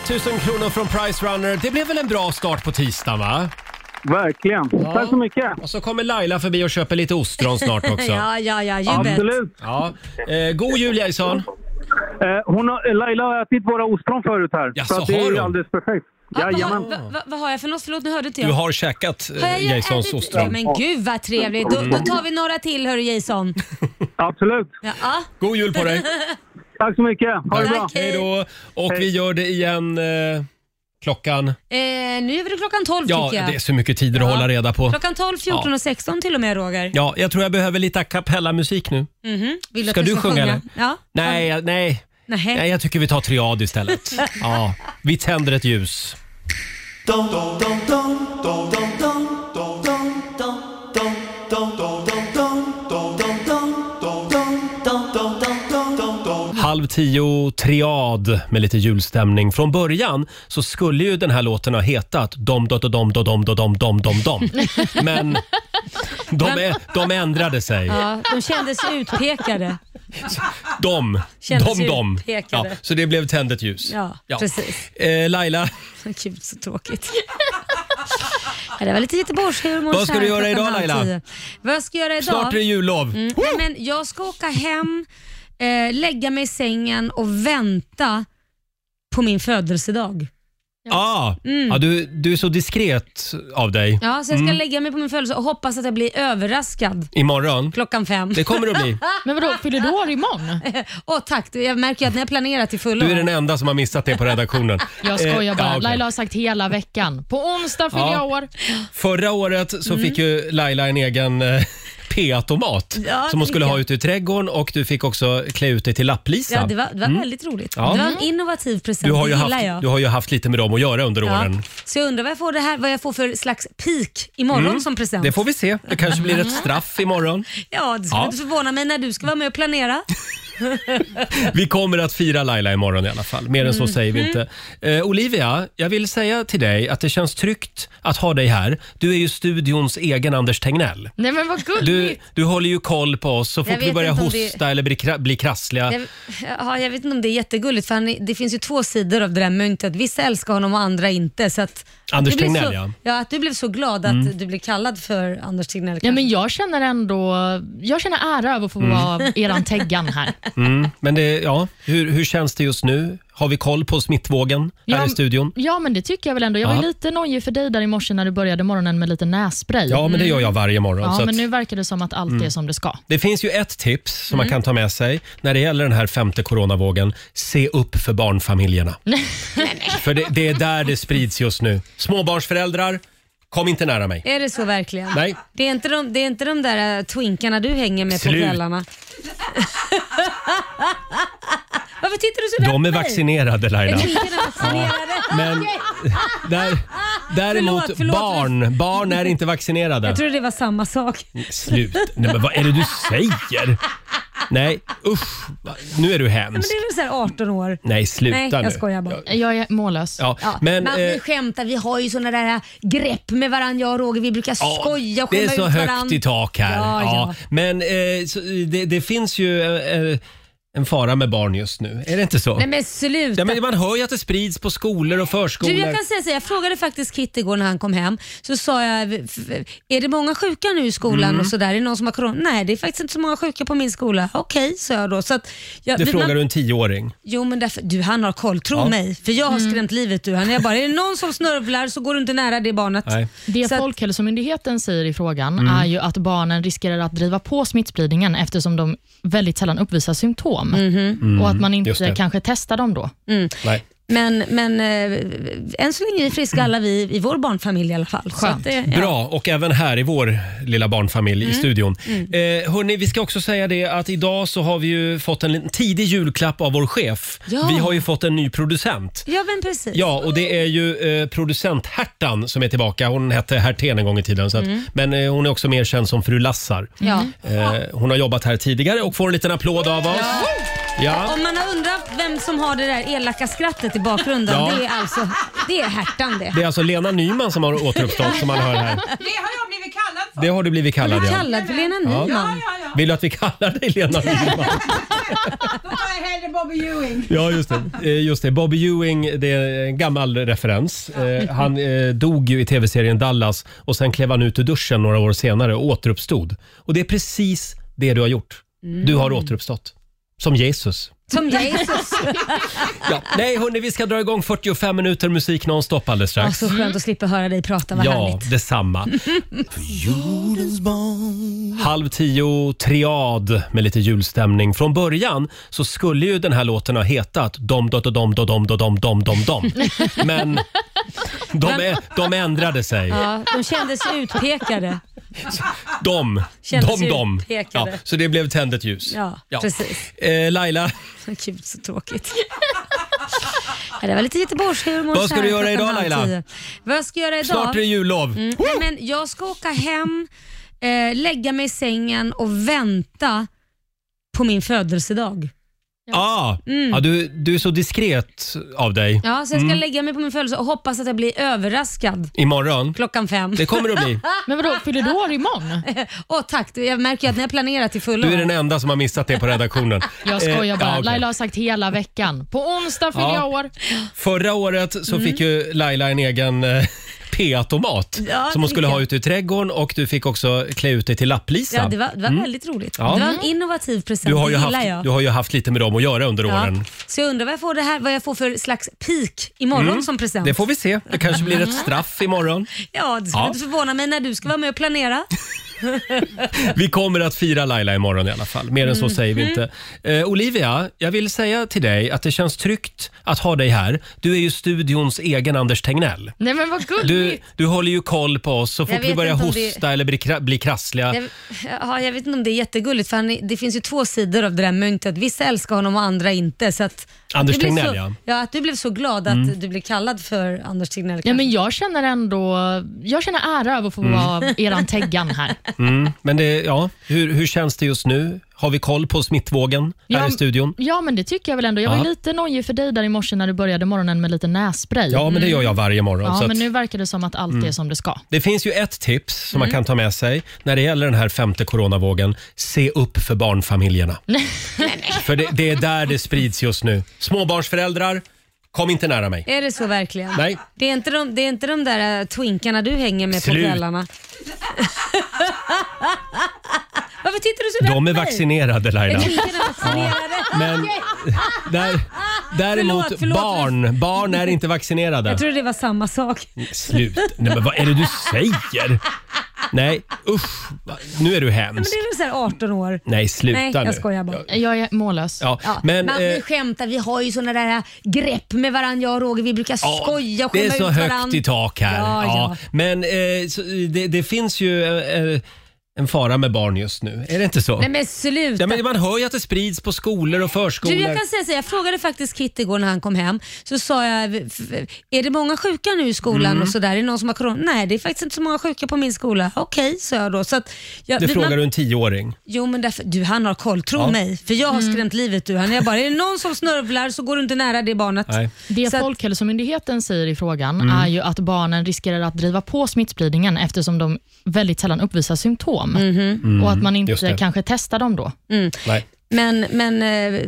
1000 kronor från Price Runner. Det blev väl en bra start på tisdagen va?
Verkligen.
Ja.
Tack så mycket.
Och så kommer Laila förbi och köper lite ostron snart också.
ja, ja, ja. You bet.
Absolut.
Ja. Eh, god jul Jason!
Eh, hon har, eh, Laila har ätit våra ostron förut här.
Jaså,
så att det
har
är ju
hon?
alldeles perfekt.
Ja, vad,
Jajamän.
har- vad, vad, vad har jag för något? Förlåt, nu hörde inte jag.
Du har käkat
Har jag
eh, Jasons
ätit-
ostron.
Men gud vad trevligt. Då, då tar vi några till hörru Jason.
Absolut.
Ja, ja.
God jul på dig!
Tack så mycket. Ha det bra.
Tack.
Hej då! Och vi gör det igen eh, klockan...
Eh, nu är det klockan 12
Ja,
tycker jag.
det är så mycket tider att
Ja.
hålla reda på.
Klockan 12, 14 och 16 till och med Roger.
Ja, jag tror jag behöver lite a cappella-musik nu.
Mhm. Vill att
Ska
vi
du sjunga, eller?
Ja.
Nej, jag- nej.
Nej.
nej, jag tycker vi tar triad istället. Ja, vi tänder ett ljus. Halv tio, triad med lite julstämning. Från början så skulle ju den här låten ha hetat Dom dot och dom dot dom dot dom dom dom dom. Men de, är, de ändrade sig.
Ja, de kändes utpekade.
Dom,
Kändes
dom, dom. Ja,
utpekade.
så det blev tänd ett ljus.
Ja, precis.
Eh, Laila,
Gud, så tråkigt. Ja, Det var lite Göteborgshumor.
Vad ska
så här
du göra
klockan
idag,
halv
Laila?
tio. Vad jag ska göra idag?
snart är det jullov.
Mm. Nej, men jag ska åka hem, eh, lägga mig i sängen och vänta på min födelsedag.
Ah, ja, du, du är så diskret av dig.
Mm. Ja, så jag ska lägga mig på min födelsedag och hoppas att jag blir överraskad
Imorgon.
klockan fem.
Det kommer att bli.
Men vadå, fyller du år imorgon?
Åh tack, Du, jag märker ju att ni har planerat till fullo.
Du är den enda som har missat det på redaktionen.
Jag skojar
Eh,
bara.
ja, okej.
Laila har sagt hela veckan. På onsdag fyller
Ja.
jag år.
Förra året
Mm.
så fick ju Laila en egen eh, P-automat
Ja,
som
det
hon skulle
fick
ha
jag.
ute i trädgården och du fick också klä ut dig till lapplisa.
Ja, det var, det var väldigt roligt.
Ja.
Det var en innovativ present,
Mm. du, har
det
ju
gillar
haft,
jag.
du har ju haft lite med dem att göra under
Ja.
åren.
Så jag undrar vad jag får, det här, vad jag får för slags peak imorgon som present.
Mm. Det får vi se. Det kanske blir ett straff imorgon.
Ja, det skulle
Ja.
inte förvåna mig när du ska vara med och planera.
Vi kommer att fira Laila imorgon i alla fall. Mer än så säger vi inte. Eh, Olivia, jag vill säga till dig att det känns tryggt att ha dig här. Du är ju studions egen Anders Tegnell.
Nej men vad gulligt.
Du, du håller ju koll på oss. Så fort
vet
vi börjar
inte om
hosta
det-
eller blir, kra- blir krassliga.
Jag, ja, jag vet inte om det är jättegulligt för han, är- det finns ju två sidor av det där myntet. Vissa älskar honom och andra inte. Så att
Anders
du blev
Tegnell,
så,
ja. Mm.
att du blev så glad att du blev kallad för Anders Tegnell.
Ja,
kanske.
men jag känner ändå jag känner ära över att få vara eran teggan här.
Mm. Men det, ja, hur, hur känns det just nu? Har vi koll på smittvågen här
Ja,
i studion?
Ja, men det tycker jag väl ändå. Jag var ju
Ja.
lite nojig för dig där i morse när du började morgonen med lite nässpray.
Ja, men det gör jag varje morgon.
Ja,
så att, Mm.
men nu verkar det som att allt är som det ska.
Det finns ju ett tips som
Mm.
man kan ta med sig när det gäller den här femte coronavågen. Se upp för barnfamiljerna. för det, det är där det sprids just nu. Småbarnsföräldrar, kom inte nära mig.
Är det så verkligen?
Nej.
Det är, inte de, det är inte de där äh, twinkarna du hänger med
Slut.
på kvällarna? Varför tittar du sådär
De är
på mig?
vaccinerade Laila.
Twinkarna är vaccinerade.
Men där, däremot
Förlåt, förlåt.
barn, barn är inte vaccinerade.
Jag trodde det var samma sak.
Slut. Nej, men vad är det du säger? Nej, usch. Nu är du
Men
hemsk.
det är väl såhär 18 år?
Nej, sluta
Nej,
nu.
jag skojar bara.
Jag är mållös.
Ja,
Ja, men,
men,
man,
eh,
vi skämtar, vi har ju såna där grepp med varandra jag och Roger. Vi brukar
Ja,
skoja och
Det är
skämma
så
ut
högt
varandra.
i tak här.
Ja,
Ja,
ja.
Men eh, så, det, det finns ju eh, en fara med barn just nu. Är det inte så?
Nej men sluta.
ja, men man hör ju att det sprids på skolor och förskolor.
Du, jag kan säga så, här, jag frågade faktiskt Kit igår när han kom hem. Så sa jag, "F- är det många sjuka nu i skolan
Mm.
och sådär? Är det någon som har corona? Nej, det är faktiskt inte så många sjuka på min skola. Okej, sa jag då. Så att, jag,
Det
vi-
frågar
man,
du en tioåring.
Jo, men därför, du han har koll, tro mig. För jag har
Mm.
skrämt livet ur honom. Jag bara, är det någon som snörvlar så går du inte nära det barnet.
Nej.
Det
Så att-
Folkhälsomyndigheten säger i frågan
Mm.
är ju att barnen riskerar att driva på smittspridningen eftersom de väldigt sällan uppvisar symptom
Mhm.
och att man
Mm, just det.
inte kanske testar dem då.
Nej.
Men, men eh, än så länge är friska alla vi i vår barnfamilj i alla fall. Så
Skönt.
att det, ja. Mm.
Bra, och även här i vår lilla barnfamilj i studion. Eh, hörni, vi ska också säga det att idag så har vi ju fått en liten tidig julklapp av vår chef.
Ja.
Vi har ju fått en ny producent.
Ja, men precis.
Ja, och det är ju eh, producent Hertan som är tillbaka. Hon hette Hertén en gång i tiden. Så att,
Mm.
Men eh, hon är också mer känd som fru Lassar.
Ja.
Eh, hon har jobbat här tidigare och får en liten applåd av oss. Ja.
Om man har undrat vem som har det där elaka skrattet i bakgrunden,
Ja.
det är alltså det är härtan det.
Det är alltså Lena Nyman som har återuppstått som man hör här.
Det har jag blivit kallad för.
Det har du blivit kallad ja.
Kallad för Lena Nyman.
Vill du att vi kallar dig Lena Nyman?
Då tar jag hellre Bobby Ewing.
Ja, just det. Eh, just det. Bobby Ewing, det är en gammal referens. Eh, Han eh, dog ju i tv-serien Dallas och sen klev han ut ur duschen några år senare och återuppstod. Och det är precis det du har gjort.
Mm.
Du har återuppstått. Som Jesus.
Som Jesus.
Ja. Nej, hörni, vi ska dra igång 45 minuter musik nonstop alldeles
Ja,
strax.
så skönt att slippa höra dig prata, vad
Ja,
härligt.
detsamma. Halv tio, triad med lite julstämning. Från början så skulle ju den här låten ha hetat Dom, dom, dom, dom, dom, dom, dom, dom, dom. Men de, är, de ändrade sig.
Ja, de kändes utpekade.
Dom,
Kändes
dom, dom. Ja,
utpekade.
så det blev Tänd ett ljus.
Ja, precis.
Eh, Laila,
Gud, så tråkigt. Ja, det var lite Göteborgshumor.
Vad ska
så här
du göra idag,
klockan halv
Laila?
tio. Vad jag ska göra idag?
Snart är det jullov.
Mm. Nej, men jag ska åka hem, eh, lägga mig i sängen och vänta på min födelsedag.
ah,
Mm.
ja, du, du är så diskret av dig.
Ja, så jag ska
Mm.
lägga mig på min födelsedag och hoppas att jag blir överraskad
Imorgon.
klockan fem.
Det kommer det att bli.
men vadå, fyller du år imorgon? Åh tack, Du, jag märker ju att ni har planerat till fullo.
Du är den enda som har missat det på redaktionen.
Jag skojar
Eh,
bara.
ja, okej.
Laila har sagt hela veckan. På onsdag fyller
Ja.
jag år.
Förra året så
Mm.
fick ju Laila en egen eh, P-automat
Ja,
som hon skulle
det
ha
fick
ute i trädgården och du fick också klä ut dig till lapplisa.
Ja, det var, det var
Mm.
väldigt roligt.
Ja.
Det var en innovativ present,
Du har, ju
det gillar
haft,
jag.
du har ju haft lite med dem att göra under åren.
Så jag undrar vad jag får, det här, vad jag får för slags peak imorgon
Mm.
som present.
Det får vi se. Det kanske blir ett straff imorgon.
Ja, det skulle
Ja.
inte förvåna mig när du ska vara med och planera.
Vi kommer att fira Laila imorgon i alla fall. Mer än så
Mm.
säger vi inte. Eh, Olivia, jag vill säga till dig att det känns tryggt att ha dig här. Du är ju studions egen Anders Tegnell.
Nej men vad gulligt.
Du, du håller ju koll på oss så
Jag
fort vi
vet
börjar
inte om det-
hosta eller bli, kra- bli krassliga.
Jag, ja, jag vet inte om det är jättegulligt för han, är- det finns ju två sidor av det där myntet. Vissa älskar honom och andra inte. Så att
Anders
det blev
Tegnell,
så,
ja.
ja. att du blev så glad att
Mm.
du blev kallad för Anders Tegnell.
Ja, men jag känner ändå jag känner ära över att få
Mm.
vara eran teggan här.
Mm, men det, ja, hur, hur känns det just nu? Har vi koll på smittvågen här
Ja,
i studion?
Ja, men det tycker jag väl ändå. Jag var ju
Ja.
lite nojig för dig där i morse när du började morgonen med lite nässpray.
Ja, men det gör jag varje morgon.
Ja,
så att,
men nu verkar det som att allt
Mm.
är som det ska.
Det finns ju ett tips som man
Mm.
kan ta med sig när det gäller den här femte coronavågen. Se upp för barnfamiljerna. för det, det är där det sprids just nu. Småbarnsföräldrar, kom inte nära mig.
Är det så verkligen?
Nej.
Det är inte de, det är inte de där äh, twinkarna du hänger med
Slut.
på kvällarna. Varför tittar du så där
De är
på mig?
vaccinerade Laila.
Är twinkarna vaccinerade?
Men där, däremot
Förlåt, förlåt.
barn, barn är inte vaccinerade.
Jag trodde det var samma sak.
Mm. Slut. Nej, men vad är det du säger? Nej, usch. Nu är du
Men
hemsk.
det är väl såhär 18 år?
Nej, sluta
Nej, jag
nu.
skojar bara.
Jag är mållös.
Ja,
Ja, men,
men,
man,
eh,
vi skämtar, vi har ju såna där grepp med varandra jag och Roger. Vi brukar
Ja,
skoja och
Det är
skämma
så
ut
högt
varandra.
i tak här.
Ja, ja.
Men eh, så, det, det finns ju eh, en fara med barn just nu. Är det inte så?
Nej men sluta.
ja, men man hör ju att det sprids på skolor och förskolor.
Du, jag kan säga så, här, jag frågade faktiskt Kit igår när han kom hem. Så sa jag, "F- är det många sjuka nu i skolan
Mm.
och sådär? Är det någon som har corona? Nej, det är faktiskt inte så många sjuka på min skola. Okej, sa jag då. Så att, jag,
det
vet
frågar
man-
du en tioåring.
Jo men därför, du han har koll, tro
Ja. Mm.
mig. För jag har skrämt livet ur honom. Jag bara, är det någon som snörvlar så går du inte nära det barnet.
Nej.
Det
Så att-
Folkhälsomyndigheten säger i frågan
Mm.
är ju att barnen riskerar att driva på smittspridningen eftersom de väldigt sällan uppvisar symptom.
Mm,
Mhm.
Och att man
Just
inte
det.
kanske testar dem då.
Mm.
Nej.
Men, men eh,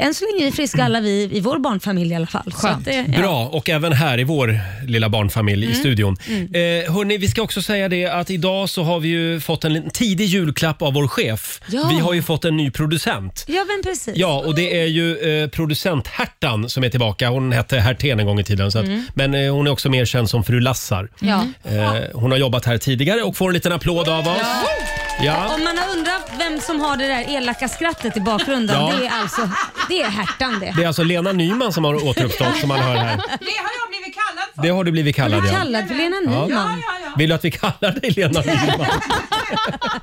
än så länge är friska alla vi i vår barnfamilj i alla fall. Så att det- ja.
Bra, och även här i vår lilla barnfamilj i
Mm.
studion.
Mm.
Eh, hörni, vi ska också säga det att idag så har vi ju fått en liten tidig julklapp av vår chef.
Ja.
Vi har ju fått en ny producent.
Ja men precis.
Ja, och det är ju eh, producent Hertan som är tillbaka. Hon hette Hertén en gång i tiden, så att,
Mm.
men eh, hon är också mer känd som fru Lassar.
Ja.
Eh, hon har jobbat här tidigare och får en liten applåd av oss. Ja.
Om man har undrat vem som har det där elaka skrattet i bakgrunden,
Ja.
det är alltså det är Hertan det.
Det är alltså Lena Nyman som har återuppstått som man hör här.
Det har jag blivit kallad
Det har du blivit kallad,
Blir
ja.
kallad för Lena
Ja.
Nyman.
Vill du att vi kallar dig Lena Nyman?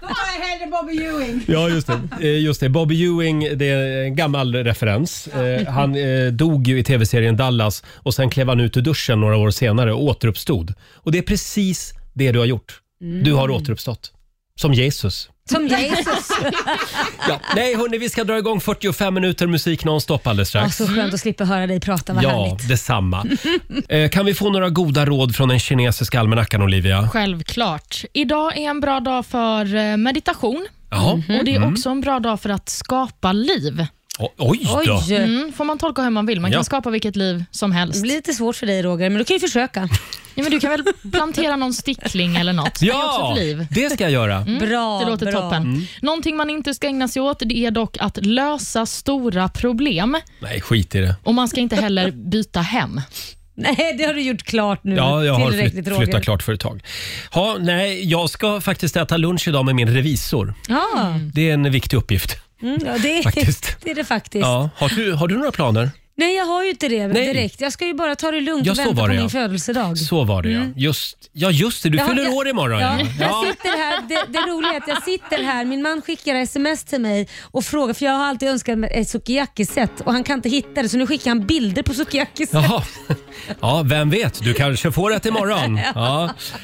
Då tar jag hellre Bobby Ewing.
Ja, just det. Eh, Just det. Bobby Ewing, det är en gammal referens. Eh, Han eh, dog ju i tv-serien Dallas och sen klev han ut ur duschen några år senare och återuppstod. Och det är precis det du har gjort. Du har återuppstått. Som Jesus.
Som Jesus.
Ja. Nej, hörni, vi ska dra igång 45 minuter musik nonstop alldeles
Ja,
strax.
så skönt att slippa höra dig prata, Alltså, vad
Ja,
härligt.
detsamma. Eh, Kan vi få några goda råd från den kinesiska almanackan, Olivia?
Mm-hmm. Självklart. Idag är en bra dag för eh, meditation.
Jaha.
Och Det är
Mm.
också en bra dag för att skapa liv.
O- oj då!
Mm, får man tolka hur man vill. Man
Ja.
kan skapa vilket liv som helst.
eh, Det blir lite svårt för dig Roger, men du kan ju försöka.
Ja, men du kan väl plantera någon stickling eller något. Det är också
Ja, Mm.
ett liv.
det ska jag göra.
Mm, det låter toppen. Någonting man inte ska ägna sig åt det är dock att lösa stora problem.
Nej, skit i det.
Och man ska inte heller byta hem.
Nej, det har du gjort klart nu.
Ja, jag har flytt,
Roger.
flyttat klart för ett tag. Ja, nej, jag ska faktiskt äta lunch idag med min revisor.
Ja,
Det är en viktig uppgift.
mm, ja det,
Faktiskt.
det är det faktiskt.
Ja, har, du, har du några planer?
Nej, jag har ju inte det
Nej.
direkt. Jag ska ju bara ta det lugnt
Ja,
och
så
vänta
var
på
det,
min
ja.
födelsedag. Mm.
Så var det ja. Just, ja, just det. Du
Jag har-
fyller
jag-
år imorgon.
Ja,
Ja.
Jag
Ja.
sitter här, det, det roliga är att jag sitter här, min man skickar sms till mig och frågar, för jag har alltid önskat mig ett sukiyaki-set och han kan inte hitta det så nu skickar han bilder på sukiyaki-set.
Jaha. Ja, vem vet? Du kanske får ett imorgon. Ja.